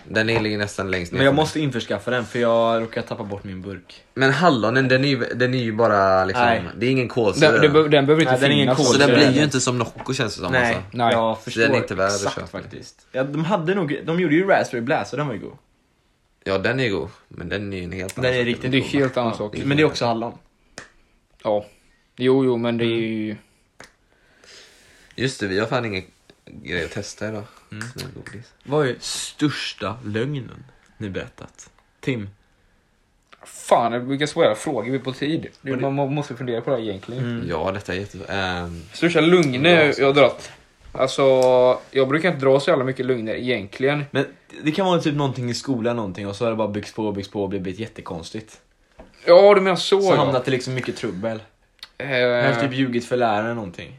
S2: Den är ligger nästan längst ner.
S1: Men jag
S2: för mig.
S1: måste införskaffa den för jag råkar tappa bort min burk.
S2: Men hallonen den är ju, den är ju bara liksom,
S1: Nej.
S2: det är ingen kolsyra.
S3: Den, den, behöver- den behöver inte
S1: Nej, den är ingen
S3: finnas.
S2: så
S1: kolsyra.
S2: den blir ju
S1: den.
S2: inte som Nocco känns det som. Alltså.
S3: Nej.
S1: jag förstår
S2: Den är inte värd att
S1: exakt
S2: köpa.
S1: faktiskt. Ja, de hade nog, de gjorde ju Raspberry Blast och den var ju god.
S2: Ja den är god, men den är ju en helt
S1: Den är
S2: sak.
S1: riktigt
S3: Det är
S1: god.
S3: helt annan sak.
S1: Men det är också hallon.
S3: Ja. Jo, jo, men det är
S1: Mm.
S3: ju...
S2: Just det, vi har fan ingen grej att testa idag.
S3: Mm.
S2: Sån här godis.
S1: Vad är största lögnen ni berättat? Tim?
S3: Fan, vilka svåra frågor vi är på tid. Det,
S1: Och det- Mm.
S3: man må- måste fundera på det här egentligen.
S2: Ja detta är jättebra. Ehm,
S3: Största lugner jag har dragit. Alltså, jag brukar inte dra så jävla mycket lugner egentligen.
S1: Men det kan vara typ någonting i skolan någonting och så har det bara byggts på och byggts på och blivit jättekonstigt.
S3: Ja, du menar så,
S1: Så
S3: ja.
S1: hamnat i liksom mycket trubbel. Jag har
S3: Eh,
S1: typ ljugit för läraren någonting.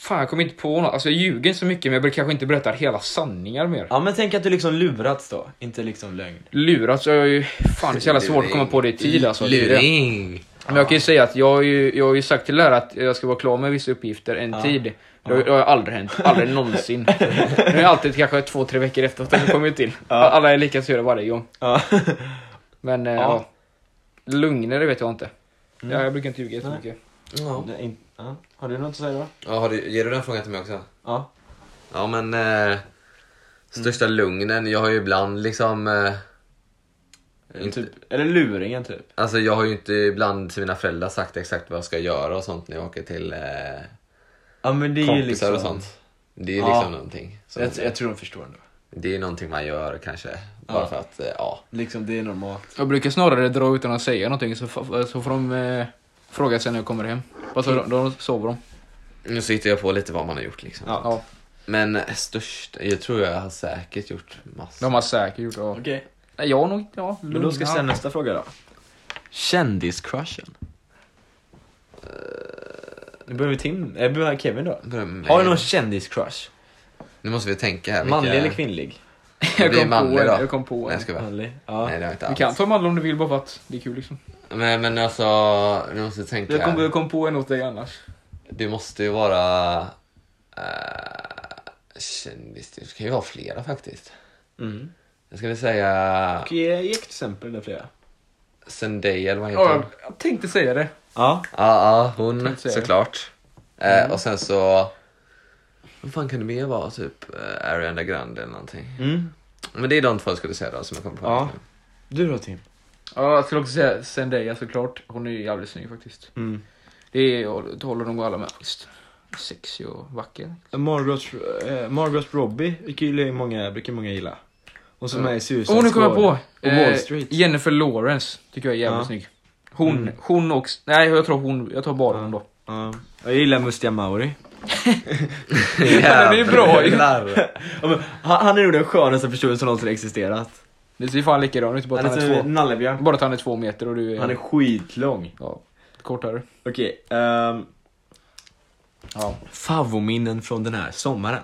S3: Fan, jag kommer inte på något. Alltså, jag ljuger inte så mycket, men jag brukar kanske inte berätta hela sanningar mer.
S1: Ja men tänk att du liksom lurats då, inte liksom lögn.
S3: Lurat så har jag ju... Fan, det är så jävla svårt att komma på det i tid alltså. Det är det.
S2: Luring!
S3: Men jag kan ju säga att jag har ju, jag har ju sagt till lärare att jag ska vara klar med vissa uppgifter en tid. Det har, det har aldrig hänt. Aldrig någonsin. Nu är det alltid kanske två, tre veckor efter att den kommit till. Alla är lika sura varje gång.
S1: Ja.
S3: Men ja.
S1: Ja.
S3: ja. Lugnare vet jag inte. Ja, jag brukar inte ljuga jättemycket.
S1: <laughs>
S2: Ja.
S1: Det är in- ja. Har du något att säga då?
S2: Ja, har du, ger du den frågan till mig också?
S1: Ja.
S2: Ja men... Eh, största
S3: Mm.
S2: lugnen, jag har ju ibland liksom... Eh, Inte-
S1: Typ, eller luringen typ.
S2: alltså jag har ju inte ibland till mina föräldrar sagt exakt vad jag ska göra och sånt när jag åker till eh,
S1: Ja men det är ju
S2: kompisar
S1: liksom...
S2: och sånt. Det är ju
S1: Ja.
S2: liksom någonting. som-
S1: Jag, jag tror de förstår ändå.
S2: Det är ju någonting man gör kanske. Bara
S1: Ja.
S2: för att, eh, ja.
S1: Liksom det är normalt.
S3: Jag brukar snarare dra utan att säga någonting så, fa- så får de eh, fråga sig när jag kommer hem. Alltså, då, då sover de.
S2: Nu så hittar jag på lite vad man har gjort liksom.
S1: Ja.
S3: Ja,
S2: Men eh, störst, jag tror jag har säkert gjort massor.
S3: de har säkert gjort det.
S1: Okej.
S3: Nej, jag har nog inte... Ja,
S1: Men då ska jag ställa
S3: lugna.
S1: nästa fråga då. Kändiscrushen? Eh. Nu börjar vi Tim, eh, börjar Kevin då.
S2: Börja med-
S1: Har du någon kändiscrush?
S2: Nu måste vi tänka här.
S1: Manlig eller kvinnlig?
S2: Jag
S3: Jag
S2: det är
S3: kom på
S2: manlig
S3: en,
S2: då.
S3: jag kom på en.
S2: Nej, jag skojar.
S1: Manlig. Ja.
S2: Nej, det har jag inte
S3: Du
S2: alls.
S3: kan ta mandel om du vill bara för att det är kul liksom.
S2: Men, men alltså, nu måste vi tänka.
S3: Jag kom, jag kom på en åt dig annars.
S2: Det måste ju vara... eh, kändis, det kan ju vara flera faktiskt.
S1: Mm.
S2: Jag skulle säga
S1: Ska jag ge ett exempel där flera?
S2: Zendaya eller vad heter
S3: Ja,
S2: hon?
S3: jag, jag tänkte säga det.
S1: Ja.
S2: Ja, ja, hon
S3: Tänkte säga det.
S2: såklart. Eh, Och sen så... Vad fan kan det mer vara? Typ eh, Ariana Grande eller någonting.
S1: Mm.
S2: Men det är de två jag skulle säga då som jag kom på.
S1: Ja. Du då Tim?
S3: Ja, jag skulle också säga Zendaya såklart. Hon är ju jävligt snygg faktiskt.
S1: Mm.
S3: Det, är, det håller nog alla med. Visst. Sexig och vacker.
S1: Margot, eh, Margot Robbie brukar ju många, brukar många gilla. Hon som är i Suicide
S3: Åh, nu kommer jag
S1: Squad.
S3: på!
S1: Och Wall
S3: Eh,
S1: Street.
S3: Jennifer Lawrence tycker jag är jävligt
S1: Ja.
S3: snygg. Hon, hon och... Nej, jag tror hon. Jag tar bara hon då.
S1: Ja. Jag gillar Mustiga Mauri.
S3: Ja, det är bra ju.
S2: Jävlar.
S1: Ja, men Han, han är nog den skönaste personen som någonsin existerat.
S3: Det ser fan likadan ut, bara
S1: Han
S3: att
S1: är
S3: han är
S1: typ
S3: två.
S1: nallebjörn.
S3: Bara att han är två meter och du är...
S1: Han är skitlång.
S3: Ja, kortare.
S1: Okej, ehm,
S3: Ja,
S1: favominnen från den här sommaren.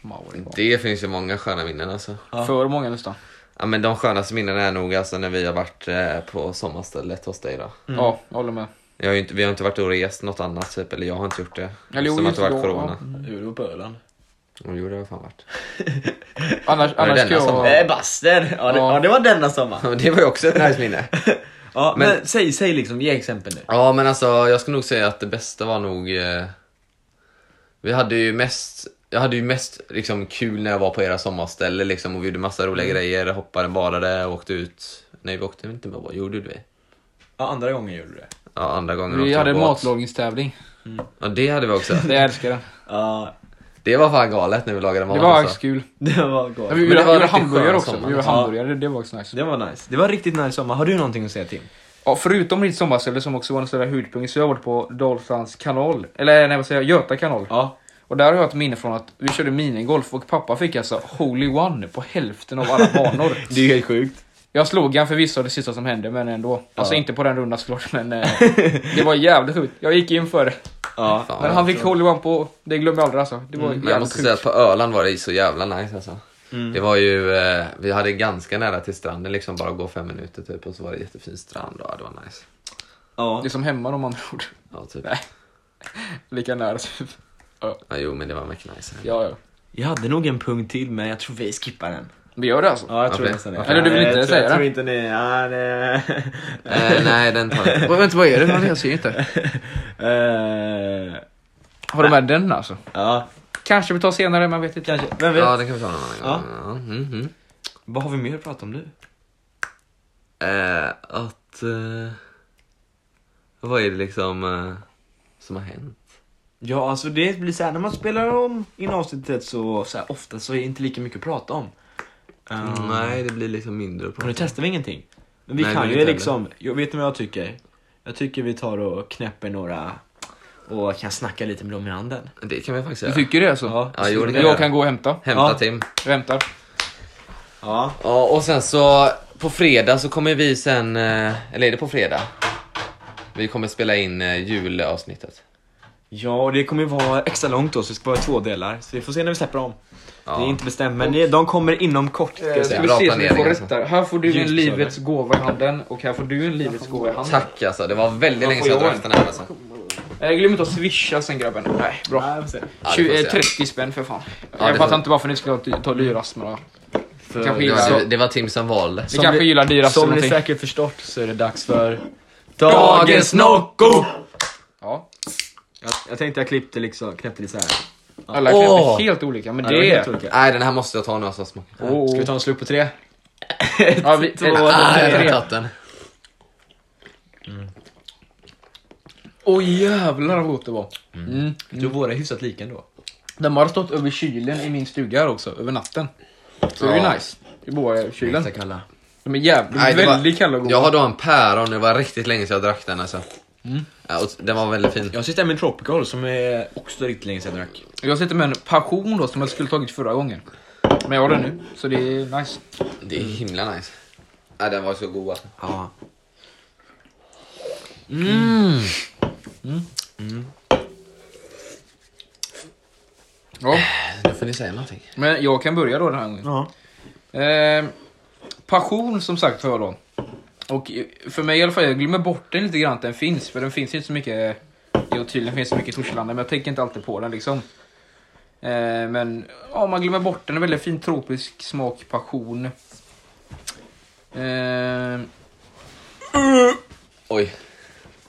S3: Mauri.
S2: Det finns ju många sköna minnen alltså.
S1: Ja.
S3: För många nästan.
S2: Ja men de skönaste minnena är nog alltså när vi har varit eh, på sommarstället hos dig då.
S3: Ja, jag håller med.
S2: Jag har ju inte, vi har inte varit och rest något annat typ, eller jag har inte gjort det.
S3: Eller jo,
S2: Som att det har
S3: just
S2: varit
S3: då,
S2: corona.
S1: Hur var på <laughs> Öland?
S2: Jo, jo, det har jag fan varit. <laughs>
S3: Annars,
S2: det
S3: annars
S2: denna
S3: ska jag...
S2: som-
S1: Nej, Basten! Eh, Ja, det,
S3: Ja.
S1: ja. det var denna sommar.
S2: Ja, men det var ju också ett nice minne.
S1: Ja, men,
S2: Men-
S1: säg, säg liksom, ge exempel nu.
S2: Ja men alltså jag skulle nog säga att det bästa var nog... Eh, vi hade ju mest... Jag hade ju mest liksom, kul när jag var på era sommarställe liksom, och vi gjorde massa roliga
S3: Mm.
S2: grejer, hoppade, badade, åkte ut. Nej vi åkte inte med båt, gjorde vi?
S1: Ja, andra gången gjorde du det.
S2: Ja, andra gången
S3: Vi
S2: åkte
S3: hade
S2: vi båt.
S3: matlagningstävling.
S2: Ja det hade vi också.
S3: Det jag älskar den.
S1: Ja, <laughs>
S2: Det var fan galet när vi lagade mat
S3: Det var
S2: alltså.
S3: faktiskt kul.
S1: det var gott.
S3: Ja, vi
S2: Men det
S3: gjorde,
S2: var
S3: gjorde
S2: riktigt skön
S3: hamburgare också.
S2: sommar.
S3: Vi gjorde
S1: Ja.
S3: hamburgare, det var också nice.
S1: Det var nice. Det var riktigt nice sommar. Har du någonting att säga Tim?
S3: Ja, förutom mitt sommarställe som också var en sån där höjdpunkt så har jag varit på Dalslands kanal. Eller nej vad säger jag, Göta kanal.
S1: Ja.
S3: Och där har jag ett minne från att vi körde minigolf och pappa fick alltså Holy One på hälften av alla
S2: <laughs>
S3: banor.
S1: Det är ju helt sjukt.
S3: Jag slog han förvisso det sista som hände men ändå. Alltså inte på den rundan såklart
S2: <laughs>
S3: men eh, det var jävligt sjukt. Jag gick in för det.
S1: Ja.
S2: Fan,
S3: Men
S2: vad
S3: han fick Holy One på, det glömmer jag aldrig alltså. Det var
S2: Mm. Men jag
S3: jävligt
S2: måste
S3: sjukt. Mm.
S2: säga att på Öland var det så jävla nice alltså. Det var ju, eh, vi hade ganska nära till stranden liksom, bara gå fem minuter typ och så var det jättefin strand och ja, det var nice.
S1: Ja.
S3: Det är som hemma om andra ord.
S2: Ja, typ.
S3: Nej. <laughs> Lika nära typ.
S2: Ja, jo men det var mycket nice.
S3: Ja, ja.
S1: Jag hade nog en punkt till men jag tror vi skippar den.
S3: Vi gör det alltså?
S1: Ja jag
S2: tror
S1: tror
S2: Varför?
S1: nästan
S2: nästan
S1: det.
S2: det.
S3: Eller du vill inte
S1: jag
S3: säga
S1: tror,
S3: det?
S1: Jag tror inte ni... Ja, det... <laughs>
S2: Eh, nej, den tar jag inte.
S3: Vad- Vänta, vad är det? Vad- <laughs> Jag ser inte.
S1: Eh,
S3: Har du med den alltså?
S1: ja,
S3: Kanske vi tar senare, man vet inte.
S1: kanske. Vem vet?
S2: Ja, den kan vi ta någon annan gång. Ja. Mm, mm.
S1: Vad har vi mer att prata om nu?
S2: Eh, att... Eh, vad är det liksom eh, som har hänt?
S1: Ja, alltså det blir så här när man spelar om in avsnittet så, så här, ofta så är det inte lika mycket att prata om. Eh,
S2: Nej, det blir liksom mindre att
S1: Och nu
S2: prata
S1: testar vi ingenting. Men vi
S2: Nej, det
S1: kan
S2: vill
S1: ju
S2: inte
S1: liksom, jag vet ni vad jag tycker? Jag tycker vi tar och knäpper några och kan snacka lite med dem i handen.
S2: om. Det kan vi faktiskt
S3: Du
S2: göra.
S3: tycker det alltså?
S2: Ja, jo, det kan
S3: Jag kan gå och hämta.
S2: Hämta
S1: Ja.
S2: Tim.
S3: Jag hämtar.
S1: Ja.
S2: Ja, och sen så på fredag så kommer vi sen, eh, eller är det på fredag? Vi kommer spela in eh, julavsnittet.
S1: Ja, och det kommer ju vara extra långt då så det ska vara två delar. Så vi får se när vi släpper dem.
S2: Ja.
S1: Det är inte bestämt, men det, de kommer inom kort ska jag
S3: Ska
S1: säga.
S3: vi
S2: bra
S3: se så vi får
S2: planering,
S3: rätt där. Här får du en
S1: Ljust,
S3: livets gåva i handen och här får du en livets gåva i handen.
S2: Tack alltså, det var väldigt länge
S3: får
S2: sedan jag
S3: jag
S2: drack den här alltså.
S3: Eh, Glöm inte att swisha sen grabben. Nej, bra.
S1: Ja, vi får se.
S2: Ja, det får
S3: Tju-
S2: vi
S3: eh,
S2: se.
S3: 30 spänn för fan.
S2: Ja,
S3: jag
S2: det
S3: fattar
S2: får-
S3: inte varför ni skulle ta- ta dyrast men ja.
S1: För-
S3: Kanske
S2: Det
S3: gillar-
S2: var, det, det var Tim som valde.
S3: Ni kanske
S1: ni-
S3: gillar dyrast eller
S1: Eh, Som ni
S3: någonting.
S1: säkert förstått så är det dags för
S2: Dagens
S1: Nocco!
S3: Ja.
S1: Jag, jag tänkte jag klippte liksom, knäppte lite så här.
S3: Alla knep är
S2: Åh!
S3: helt olika men
S1: Ja, var
S3: det...
S1: helt
S3: är-
S1: olika.
S2: Nej, den här måste jag ta nu alltså. smak.
S3: Åh.
S1: Ska vi ta en slurk på tre?
S3: <laughs> Ja, vi,
S1: Två,
S3: ett,
S2: Ah,
S3: två,
S2: jag har
S3: tre.
S2: tagit den.
S3: Åh oh, jävlar vad gott det var. Mm.
S1: Du och våra är hyfsat lika ändå.
S3: De har stått över kylen i min stuga här också, över natten. Så det är
S2: Ja.
S3: ju nice. Det bor i kylen.
S1: Extra kalla.
S3: De är jävligt,
S2: Nej, det var-
S3: väldigt kalla och goda.
S2: Jag har då en päron, det var riktigt länge sedan jag drack den alltså. Ja, och den var väldigt fin.
S1: Jag har sett med Tropical som är också riktigt länge sedan jag drack.
S3: Jag sitter med en passion då som jag skulle tagit förra gången. Men jag har den nu, så det är nice.
S2: Det är himla nice. Ja, den var så god alltså.
S1: Ja.
S3: Ja,
S2: Nu får ni säga någonting.
S3: men jag kan börja då den här gången.
S1: ja.
S3: Eh, passion som sagt har jag då. Och eh, för mig i alla fall, jag glömmer bort den lite grann att den finns. För den finns ju inte så mycket, jo tydligen finns det mycket i Torslanda men jag tänker inte alltid på den liksom. Eh, men ja, man glömmer bort den, en väldigt fin tropisk smak, passion. Eh,
S2: Oj,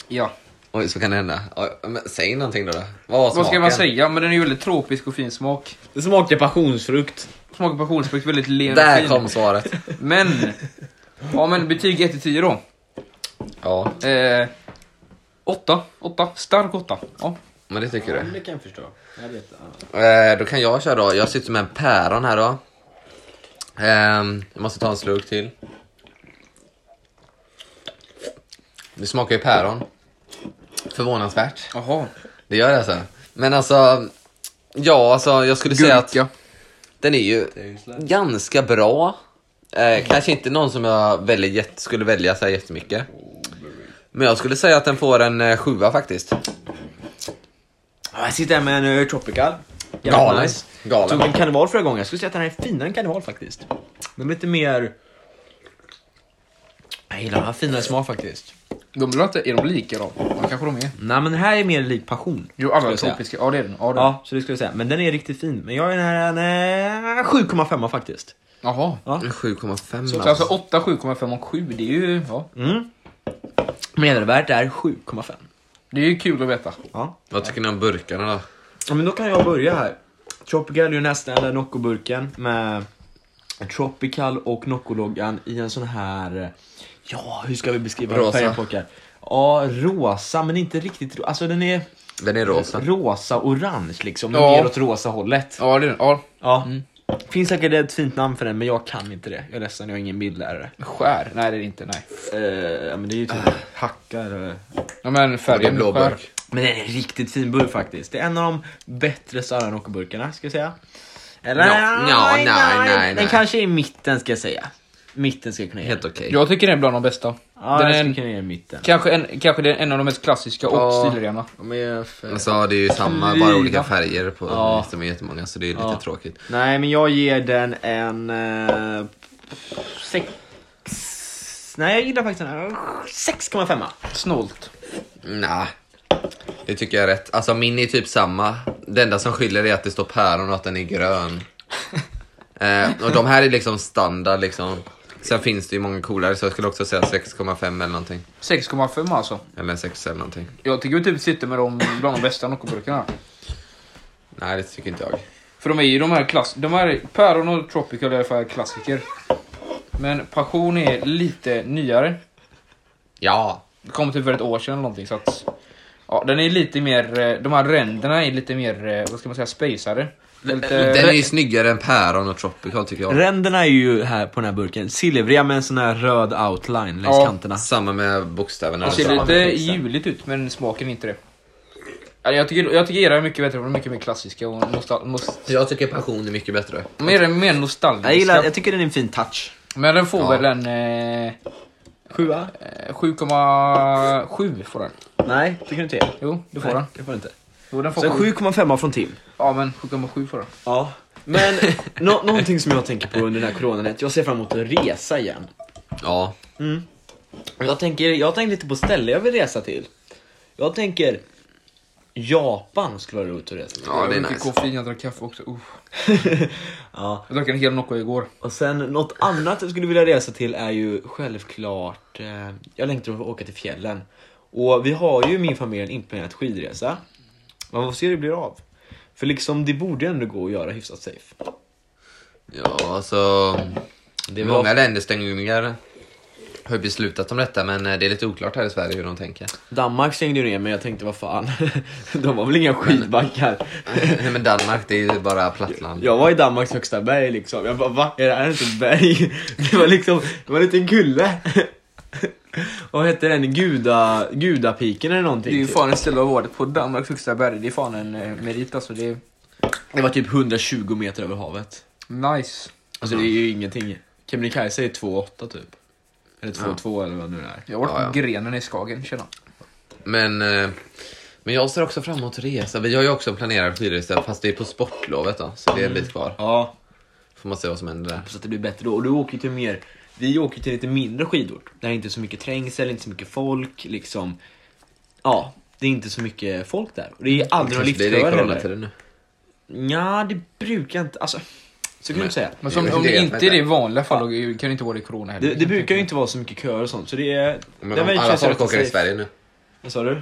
S3: ja,
S2: oj, så kan det hända. Oj, men säg någonting då. då. Vad var
S3: vad ska
S2: smaken?
S3: man säga? Men den är ju väldigt tropisk och fin smak.
S1: Det smakar passionsfrukt.
S3: Smakar passionsfrukt, väldigt len och
S2: Där
S3: fin.
S2: kom <laughs> svaret.
S3: Men, ja men betyg 1-10 då.
S2: Ja,
S3: Eh, åtta, åtta, stark åtta. Ja.
S2: men det tycker du.
S1: Det kan jag förstå. Jag vet, ja.
S2: Eh, då kan jag köra då. Jag sitter med en päron här då. Ehm, jag måste ta en slurk till. Det smakar ju päron. Förvånansvärt.
S3: Jaha.
S2: Det gör det alltså. Men alltså, ja alltså jag skulle säga att
S3: Gurka.
S2: den är ju ganska bra. Eh, kanske inte någon som jag väljer, jätte- skulle välja så här jättemycket. Men jag skulle säga att den får en eh, sjua faktiskt.
S1: Jag sitter här med en eh, Tropical. Jävligt
S2: Galen.
S1: nice.
S2: Galen.
S1: Tog en karneval förra gången. Jag skulle säga att den här är finare än karneval faktiskt. Den är lite mer... Jag gillar den här finare smak faktiskt.
S3: De blir inte, är de lika då? Ja, kanske de är.
S1: Nej men den här är mer lik passion.
S3: Jo, alla
S1: skulle
S3: är
S1: jag säga.
S3: tropiska. Ja, det är den. Ja, det är den.
S1: Ja, så det skulle jag säga. Men den är riktigt fin. Men jag är den här en eh, 7,5 faktiskt.
S3: Jaha.
S2: En 7,5
S3: Så alltså 8, 7,5 och 7, det är ju... Ja.
S1: Mm. Medelvärdet är 7,5.
S3: Det är ju kul att veta.
S1: Ja.
S2: Vad tycker ni om burkarna då?
S1: Ja, men då kan jag börja här. Tropical är ju nästan eller Nocco-burken med Tropical och Nocco-loggan i en sån här... Ja, hur ska vi beskriva
S2: Rosa.
S1: färgen pojkar? Ja, rosa men inte riktigt rosa. Alltså den är
S2: Den är rosa.
S1: rosa-orange liksom, men
S3: Ja.
S1: mer åt rosa hållet.
S3: Ja, det är den. Ja.
S1: Ja. Finns säkert ett fint namn för den men jag kan inte det. Jag är ledsen, jag är ingen bildlärare.
S3: Skär? Nej, det är det inte. Nej.
S1: Eh, ja, men det är ju typ hacka eller...
S3: Ja, men
S2: Och det är
S3: färgen
S2: blå
S3: skär.
S2: burk.
S1: Men den är en riktigt fin burk faktiskt. Det är en av de bättre Sara Nocco-burkarna ska jag säga. Eller
S2: Nja, nja, nej, nej,
S1: Den
S2: nej.
S1: kanske är i mitten ska jag säga. Mitten ska jag kunna ge.
S2: Helt okej.
S3: Jag tycker den är bland de bästa.
S1: Ja,
S3: den
S1: den
S3: är
S1: skulle
S3: en,
S1: kunna ge i mitten.
S3: kanske, en, kanske det är en av de mest klassiska och
S2: Ja.
S3: stilrena.
S2: Alltså det är ju samma, bara
S3: Fyra.
S2: olika färger på
S1: Ja.
S2: de är jättemånga så det är lite
S1: Ja.
S2: tråkigt.
S1: Nej, men jag ger den en... Eh, sex... Nej, jag gillar faktiskt den här. 6,5.
S3: Snålt.
S2: Nja, Det tycker jag är rätt. Alltså min är typ samma. Det enda som skiljer är att det står päron och att den
S1: <laughs>
S2: är grön. eh, och de här är liksom standard liksom. Sen finns det ju många coolare så jag skulle också säga 6,5 eller någonting.
S3: 6,5 alltså.
S2: Eller 6 eller någonting.
S3: Jag tycker vi typ sitter med dem bland de bästa Noccoburkarna.
S2: Nej det tycker inte jag.
S3: För de är ju de här klass... De här päron och tropical är i alla fall klassiker. Men passion är lite nyare.
S2: Ja!
S3: Det kom typ för ett år sedan eller någonting så att... Ja, den är lite mer... eh, De här ränderna är lite mer, eh, vad ska man säga, spacade. Lite...
S2: Den är
S1: eh,
S2: ju snyggare än päron och tropical tycker jag.
S1: Ränderna är ju här på den här burken silvriga med en sån här röd outline längs
S3: Ja.
S1: kanterna.
S2: Samma med bokstäverna.
S3: Det
S2: Alltså.
S3: ser lite
S1: Samma pizza.
S3: juligt ut men smaken är inte det. Alltså, Jag tycker, jag tycker era är mycket bättre för de är mycket mer klassiska och nostal- nost-
S2: Jag tycker passion är mycket bättre.
S3: mer, mer nostalgiska.
S1: Jag gillar, jag tycker den är en fin touch.
S3: Men den får
S2: Ja.
S3: väl en eh,
S1: Sjua?
S3: eh, 7,7 får den.
S1: Nej, tycker du inte det?
S3: Jo, det får
S1: Nej,
S3: den.
S1: det får du inte.
S3: Jo, den får
S1: Sen
S3: sju.
S1: 7,5 från Tim.
S3: Ja men 7,7 får den.
S1: Ja. Men nå- någonting som jag tänker på under den här coronan är att jag ser fram emot att resa igen.
S2: Ja.
S1: Jag tänker, jag tänker lite på ställe jag vill resa till. Jag tänker Japan skulle vara roligt att resa till. <laughs>
S2: Ja det är
S3: jag dricker
S2: nice.
S3: kaffe, jag drack kaffe också. Uff.
S1: Ja.
S3: Jag drack en hel Nocco igår.
S1: Och sen något annat jag skulle vilja resa till är ju självklart, eh, jag längtar efter att åka till fjällen. Och vi har ju i min familj en inplanerad skidresa. Man får se hur det blir av. För liksom det borde ju ändå gå att göra hyfsat safe.
S2: Ja alltså.
S1: Det är väl
S2: Många länderstängningar har ju beslutat om detta men eh, det är lite oklart här i Sverige hur de tänker. <laughs>
S1: Danmark stängde ju ner men jag tänkte vad fan, <laughs> de har väl inga skidbackar. <laughs>
S2: Nej men Danmark det är ju bara plattland.
S1: Jag var i Danmarks högsta berg liksom. Jag bara va? Är det här inte ett berg? <laughs> Det var liksom, det var en liten kulle. <laughs> Och vad hette den? Guda, Gudapiken eller
S3: Det
S1: någonting?
S3: är ju
S1: typ.
S3: fan en ställe av året på Danmarks högsta berg. Det är fan en eh, merit alltså. Det är
S1: Det var typ 120 meter över havet.
S3: nice.
S1: Alltså det är ju ingenting. Kebnekaise är 2,8 typ. Eller 2,2 eller vad nu det är.
S3: Jag har varit
S2: Ja, ja.
S3: på grenen i Skagen tjena.
S2: Men, eh, men jag ser också fram emot resa. Vi har ju också en planerad skidresa fast det är på sportlovet då. Så det är en bit kvar.
S1: Ja,
S2: Får man se vad som händer där.
S1: hoppas att det blir bättre då. Och du åker ju till mer, vi åker till lite mindre skidort. Där det är inte så mycket trängsel, inte så mycket folk liksom. Ja, det är inte så mycket folk där. Och det är aldrig några
S2: Kanske blir det i
S1: liftdörrar heller.
S2: coronatiden nu.
S1: Nja, det brukar inte... Alltså, så kan
S2: Men-
S1: man inte säga.
S3: Men som,
S2: Det är
S3: om det
S2: det,
S3: inte
S2: vänta.
S3: är det i vanliga fall då kan det inte vara det i corona heller.
S1: Det, det brukar ju inte vara så mycket köer och sånt, så det är...
S2: Men
S1: det
S2: om
S1: väl
S2: alla
S1: känns
S2: folk
S1: rätt
S2: åker i
S1: safe.
S2: Sverige nu.
S1: Vad sa du?
S3: Är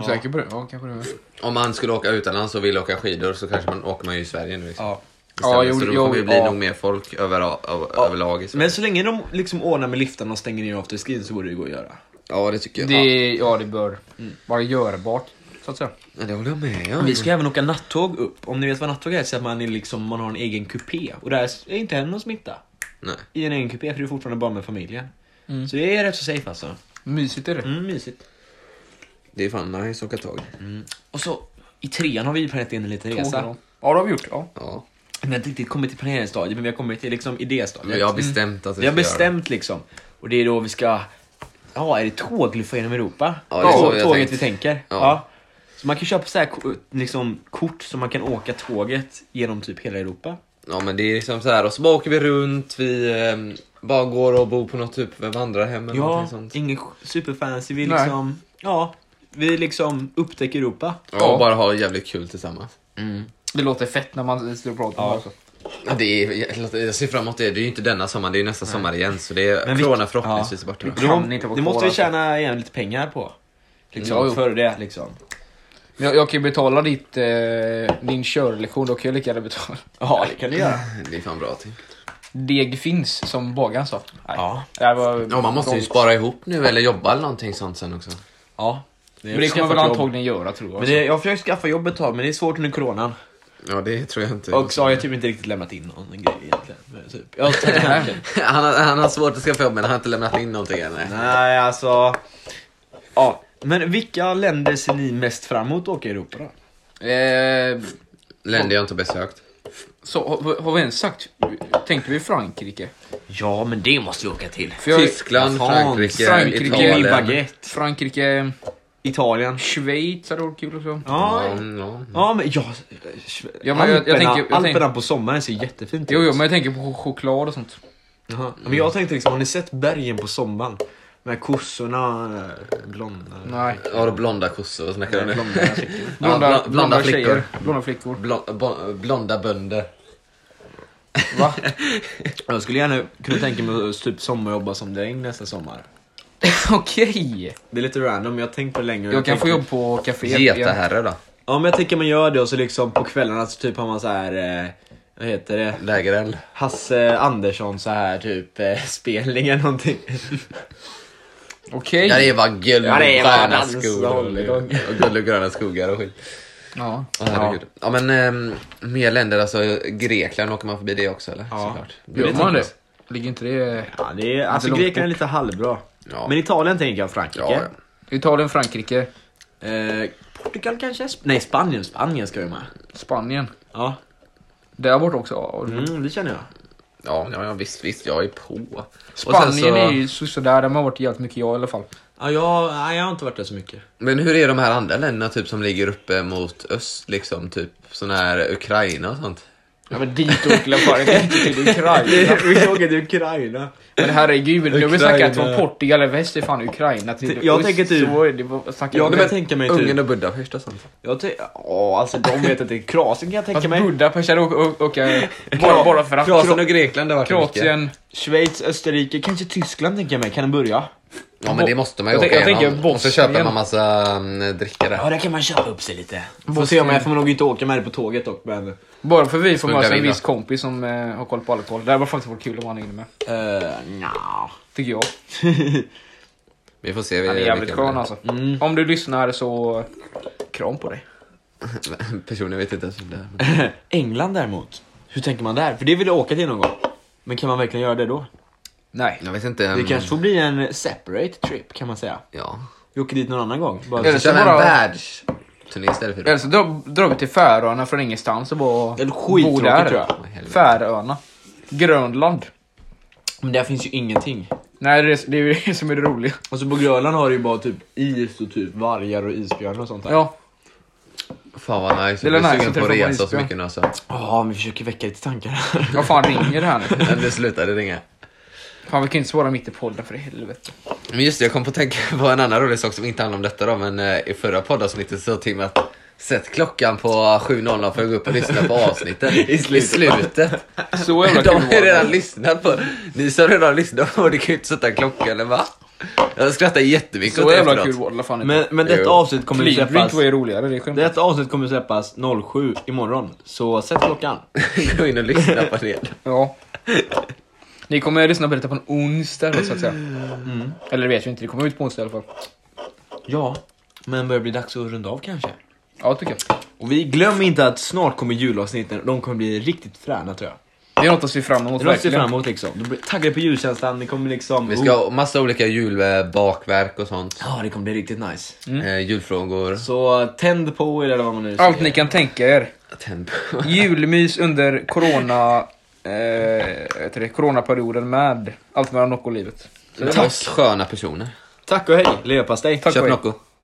S3: du säker på det? Ja, kanske det. är.
S2: Om man skulle åka utomlands och vill åka skidor så kanske man åker man ju i Sverige nu. Liksom.
S3: Ja.
S2: Istället.
S3: Ja, jo,
S2: så då
S3: jo,
S2: kommer det bli
S3: ja.
S2: nog mer folk över, ö, överlag i Sverige.
S1: Men så länge de liksom ordnar med liftarna och stänger ner afterskin så borde det gå att göra.
S2: Ja det tycker jag. Det...
S3: Det, ja, det bör vara görbart. Så att säga.
S2: Ja, det håller jag med om.
S1: Vi ska även åka nattåg upp. Om ni vet vad nattåg är så är att man, är liksom, man har en egen kupé. Och där är inte heller någon smitta.
S2: Nej.
S1: I en egen kupé, för du är fortfarande bara med familjen. Så det är rätt så safe alltså.
S3: Mysigt är det.
S1: Mm, mysigt.
S2: Det är fan nice att åka tåg.
S1: Och så, i trean har vi ju planerat in en liten
S3: Tåg
S1: resa.
S3: då. Ja, det har vi gjort. Ja.
S2: Ja.
S1: Vi har inte riktigt kommit till planeringsstadiet, men vi har kommit till liksom idéstadiet.
S2: Men jag har bestämt att vi
S1: Vi har
S2: ska göra
S1: bestämt liksom. Och det är då vi ska... Ja, är det tågluffa genom Europa?
S2: Ja, det är så
S1: Tå-
S2: vi har
S1: tåget
S2: tänkt.
S1: vi tänker.
S2: Ja.
S1: Ja. Så man kan köpa så här ko- liksom, kort så man kan åka tåget genom typ hela Europa.
S2: det. Ja men det är liksom så här och så bara åker vi runt, vi ehm, bara går och bor på något typ vandrarhem eller
S1: Ja,
S2: någonting sånt.
S1: inget sj- superfancy. Vi
S3: Nej.
S1: liksom... Ja, vi liksom upptäcker Europa.
S2: Ja, och bara ha jävligt kul tillsammans.
S3: Det låter fett när man står och pratar om det. Också.
S2: Ja, det är, jag ser fram emot det. Det är ju inte denna sommaren, det är ju nästa sommar igen. Så det är
S1: Men vi-
S2: corona förhoppningsvis
S1: ja.
S2: borta. då.
S3: kan inte vara
S1: det
S3: kvar,
S1: måste vi
S3: alltså.
S1: tjäna igen lite pengar på.
S3: Ja,
S1: Liksom,
S3: jo.
S1: för det liksom.
S3: Men Jag, jag kan ju betala ditt, eh, din körlektion, då kan jag lika gärna betala.
S1: Ja, det kan du göra.
S2: Det är fan bra till.
S3: Deg finns, som bagaren sa. Nej.
S1: Ja.
S3: Det här var
S2: Ja, man måste ju spara ihop nu eller jobba eller någonting sånt sen också.
S1: ja.
S3: Men det kommer
S1: Skaffa
S3: man väl
S1: ett jobb.
S3: antagligen göra tror jag.
S1: Men det, jag har försökt skaffa jobb ett tag, men det är svårt under coronan.
S2: Ja, det tror jag inte.
S1: Och så har jag typ inte riktigt lämnat in någon grej egentligen. men Typ. Jag har inte tagit hem det.
S2: <laughs> han, har, han har svårt att skaffa jobb men han har inte lämnat in någonting än. nej.
S1: Nej, alltså. Ja. Men vilka länder ser ni mest fram emot att åka i Europa då?
S3: Eh,
S2: Länder jag inte besökt.
S3: så, har, har vi ens sagt, tänkte vi Frankrike?
S1: Ja, men det måste vi åka till.
S3: För jag,
S2: Tyskland,
S1: Fan,
S2: Frankrike,
S3: Frankrike,
S1: Min
S2: Italien.
S1: baguette.
S3: Frankrike,
S1: Italien.
S3: Schweiz hade varit kul också.
S1: Ja,
S2: Ja, Mm, ja.
S1: ja men ja.
S3: Ja, men jag- jag
S1: Alperna,
S3: tänker- jag
S1: Alperna
S3: tänker-
S1: på sommaren ser jättefint
S3: Jo, jo,
S1: ut.
S3: men jag tänker på ch- choklad och sånt.
S1: Jaha. men jag tänkte liksom, har ni sett bergen på sommaren? De här kossorna, eh, blonda.
S3: Nej.
S2: Har blonda kossor? Vad snackar du om nu?
S1: Blonda artiklar.
S2: Ja,
S3: Blonda,
S2: bla-
S3: blonda,
S2: blonda
S3: flickor.
S2: flickor. <laughs>
S3: Blonda flickor.
S2: Blonda, blonda bönder.
S3: Va?
S1: <laughs> Jag skulle gärna kunna tänka mig att typ sommarjobba som dräng nästa sommar.
S3: Okej.
S1: Det är lite random, men jag har tänkt på det länge. och
S3: Jag kan
S1: tänker-
S3: få jobb på kaféet. igen.
S2: Getaherre då?
S1: Ja men jag tänker man gör det och så liksom på kvällarna så typ har man så här. Eh, vad heter det?
S2: Lägereld?
S1: Hasse Andersson så här typ eh, <laughs> spelning eller någonting.
S3: Okej.
S2: Ja det var guld
S1: Ja, det
S2: och
S1: är bara
S2: gröna
S1: dans och
S2: skogar. Och
S1: hålligång.
S2: guld och gröna skogar och skit.
S3: Ja.
S2: Åh, herregud. Ja men ehm, mer länder, alltså Grekland åker man förbi det också eller?
S1: Ja.
S2: Såklart.
S3: Gör
S1: det tänker
S3: man det? Ligger inte det...
S1: Ja, det är, alltså
S3: långt
S1: Grekland är lite halvbra.
S2: Ja.
S1: Men Italien tänker jag Frankrike.
S2: Ja,
S3: Italien, Frankrike,
S1: Eh, Portugal kanske? Sp- Nej Spanien, Spanien ska ju med.
S3: Spanien.
S1: Ja,
S3: Där borta också. ja.
S1: mm, det känner jag.
S2: ja, ja, ja visst, visst, jag är på.
S3: Spanien
S2: Och sen så-
S3: är ju sådär. Där man har varit jävligt mycket jag i alla fall.
S1: Ja, jag, nej, jag har inte varit där så mycket.
S2: Men hur är de här andra länderna typ som ligger uppe mot öst liksom? Typ sån här Ukraina och sånt?
S3: Ja men dit åker jag fan inte till Ukraina.
S1: Vi åker till Ukraina.
S3: <laughs> Men herregud, nu har vi snackat
S1: Ukraina.
S3: från Portugal eller väst till fan Ukraina till
S1: Jag
S3: öst,
S1: tänker typ-
S3: Så är det, vad snackar
S1: Jag
S3: vi
S1: kan
S3: om?
S1: tänka mig typ...
S2: Ungern och Budapest och sånt.
S1: Jag ty- Åh, alltså de vet att det är Kroatien kan jag tänka
S3: Fast
S1: mig.
S3: Budapest hade åkt åka bara, bara för att.
S2: Kroatien och
S3: Kro-
S2: Grekland det har varit mycket.
S3: Kroatien.
S1: Schweiz, Österrike, kanske Tyskland tänker jag mig. Kan den börja?
S2: Ja men det måste man ju
S3: Jag
S2: åka
S3: tänker- jag
S2: igenom.
S3: tänker
S2: Och så köper
S3: Bosnien.
S2: man massa mm, dricka där.
S1: Ja, där kan man köpa upp sig lite. Får se
S3: Bosnien.
S1: om jag får man nog inte åka med det på tåget dock, men...
S3: Bara för vi får med oss
S2: Smugglare
S3: en
S2: in,
S3: viss
S2: då.
S3: kompis som eh, har koll på alla koll. Det här var faktiskt varit kul om han hängde med.
S1: Uh, nja.
S3: Tycker jag.
S2: Vi får se.
S3: Han är
S2: vilka-
S3: jävligt
S2: vilka- <laughs>
S3: skön alltså. Om du lyssnar så... Kram på dig.
S2: Personligen vet inte ens vem det är.
S1: <laughs> England däremot. Hur tänker man där? För det vill jag åka till någon gång. Men kan man verkligen göra det då?
S3: Nej.
S2: Jag vet inte.
S1: Det
S2: mm,
S1: kanske får bli en separate trip kan man säga.
S2: Ja.
S1: Vi åker dit någon annan gång. Bara
S3: Eller
S2: Eller
S1: eller,
S3: så
S2: så
S3: bara-
S2: en världsturné istället för
S3: Eller så drar, drar vi till Färöarna från ingenstans och bara
S1: eller skittråkigt tror jag.
S2: Åh, helvete.
S3: Färöarna. Grönland.
S1: Men där finns ju ingenting.
S3: Nej, det är, det är ju det som är det roliga.
S1: Och så Alltså på Grönland har du ju bara typ is och typ vargar och isbjörnar och sånt där.
S3: Ja,
S2: Fan vad nice.
S3: Det är
S2: Jag blir
S3: nice
S2: sugen
S3: att
S2: på att
S3: träffa
S2: resa så
S3: Isbjörn.
S2: mycket nu alltså.
S1: Ja, men vi försöker väcka lite tankar här.
S3: vad fan ringer det här nu?
S2: Men det slutade ringa.
S3: Fan, vi kan inte svara mitt i podden för i helvete.
S2: Men just det, jag kom på att tänka på en annan rolig sak som inte handlar om detta då, men eh, i förra poddavsnittet så sa Tim att sätt klockan på 7.00 för att gå upp och lyssna på
S3: <laughs>
S2: avsnitten.
S1: I slutet.
S2: slutet.
S3: Så jävla
S2: De
S3: kul
S2: har ju
S3: var
S2: redan
S3: det.
S2: lyssnat på, ni som redan har lyssnat på det kan ju inte sätta klockan, eller va? Jag skrattar jättemycket
S3: Så
S2: åt det
S3: jävla
S2: efteråt.
S3: kul var det
S1: <laughs>
S3: fan
S1: Men,
S3: inte.
S1: men detta
S2: Jo.
S1: avsnitt kommer ju
S3: Clean
S1: släppas...
S3: var ju roligare, det är skämt.
S1: Detta avsnitt kommer släppas 07 imorgon, så sätt klockan.
S2: <laughs> Gå in och lyssna på
S3: Oh.
S2: det.
S3: Ja. Ni kommer lyssna på detta på en onsdag då, så att säga.
S1: Mm.
S3: Eller det vet vi inte, det kommer ut på onsdag i alla fall.
S1: Ja, men börjar bli dags att runda av kanske.
S3: Ja, tycker jag.
S1: Och vi glömmer inte att snart kommer julavsnitten, de kommer bli riktigt fräna tror jag.
S3: Det är något att se fram emot
S1: Det är något att se
S3: verkligen.
S1: fram emot liksom. De blir taggade på julkänslan, det kommer liksom...
S2: Vi ska ha massa olika julbakverk och sånt.
S1: Ja, det kommer bli riktigt nice.
S3: Mm.
S2: Eh, julfrågor.
S1: Så eh, tänd på er eller vad man nu säger.
S3: Allt ni kan tänka er.
S2: Tempo.
S3: <laughs> Julmys under corona... Eh, vad heter det, coronaperioden med allt mellan Nocco och livet.
S2: Oss sköna personer.
S1: Tack och hej, leverpastej.
S3: Tack och
S2: Köp
S3: hej.
S2: Nocco.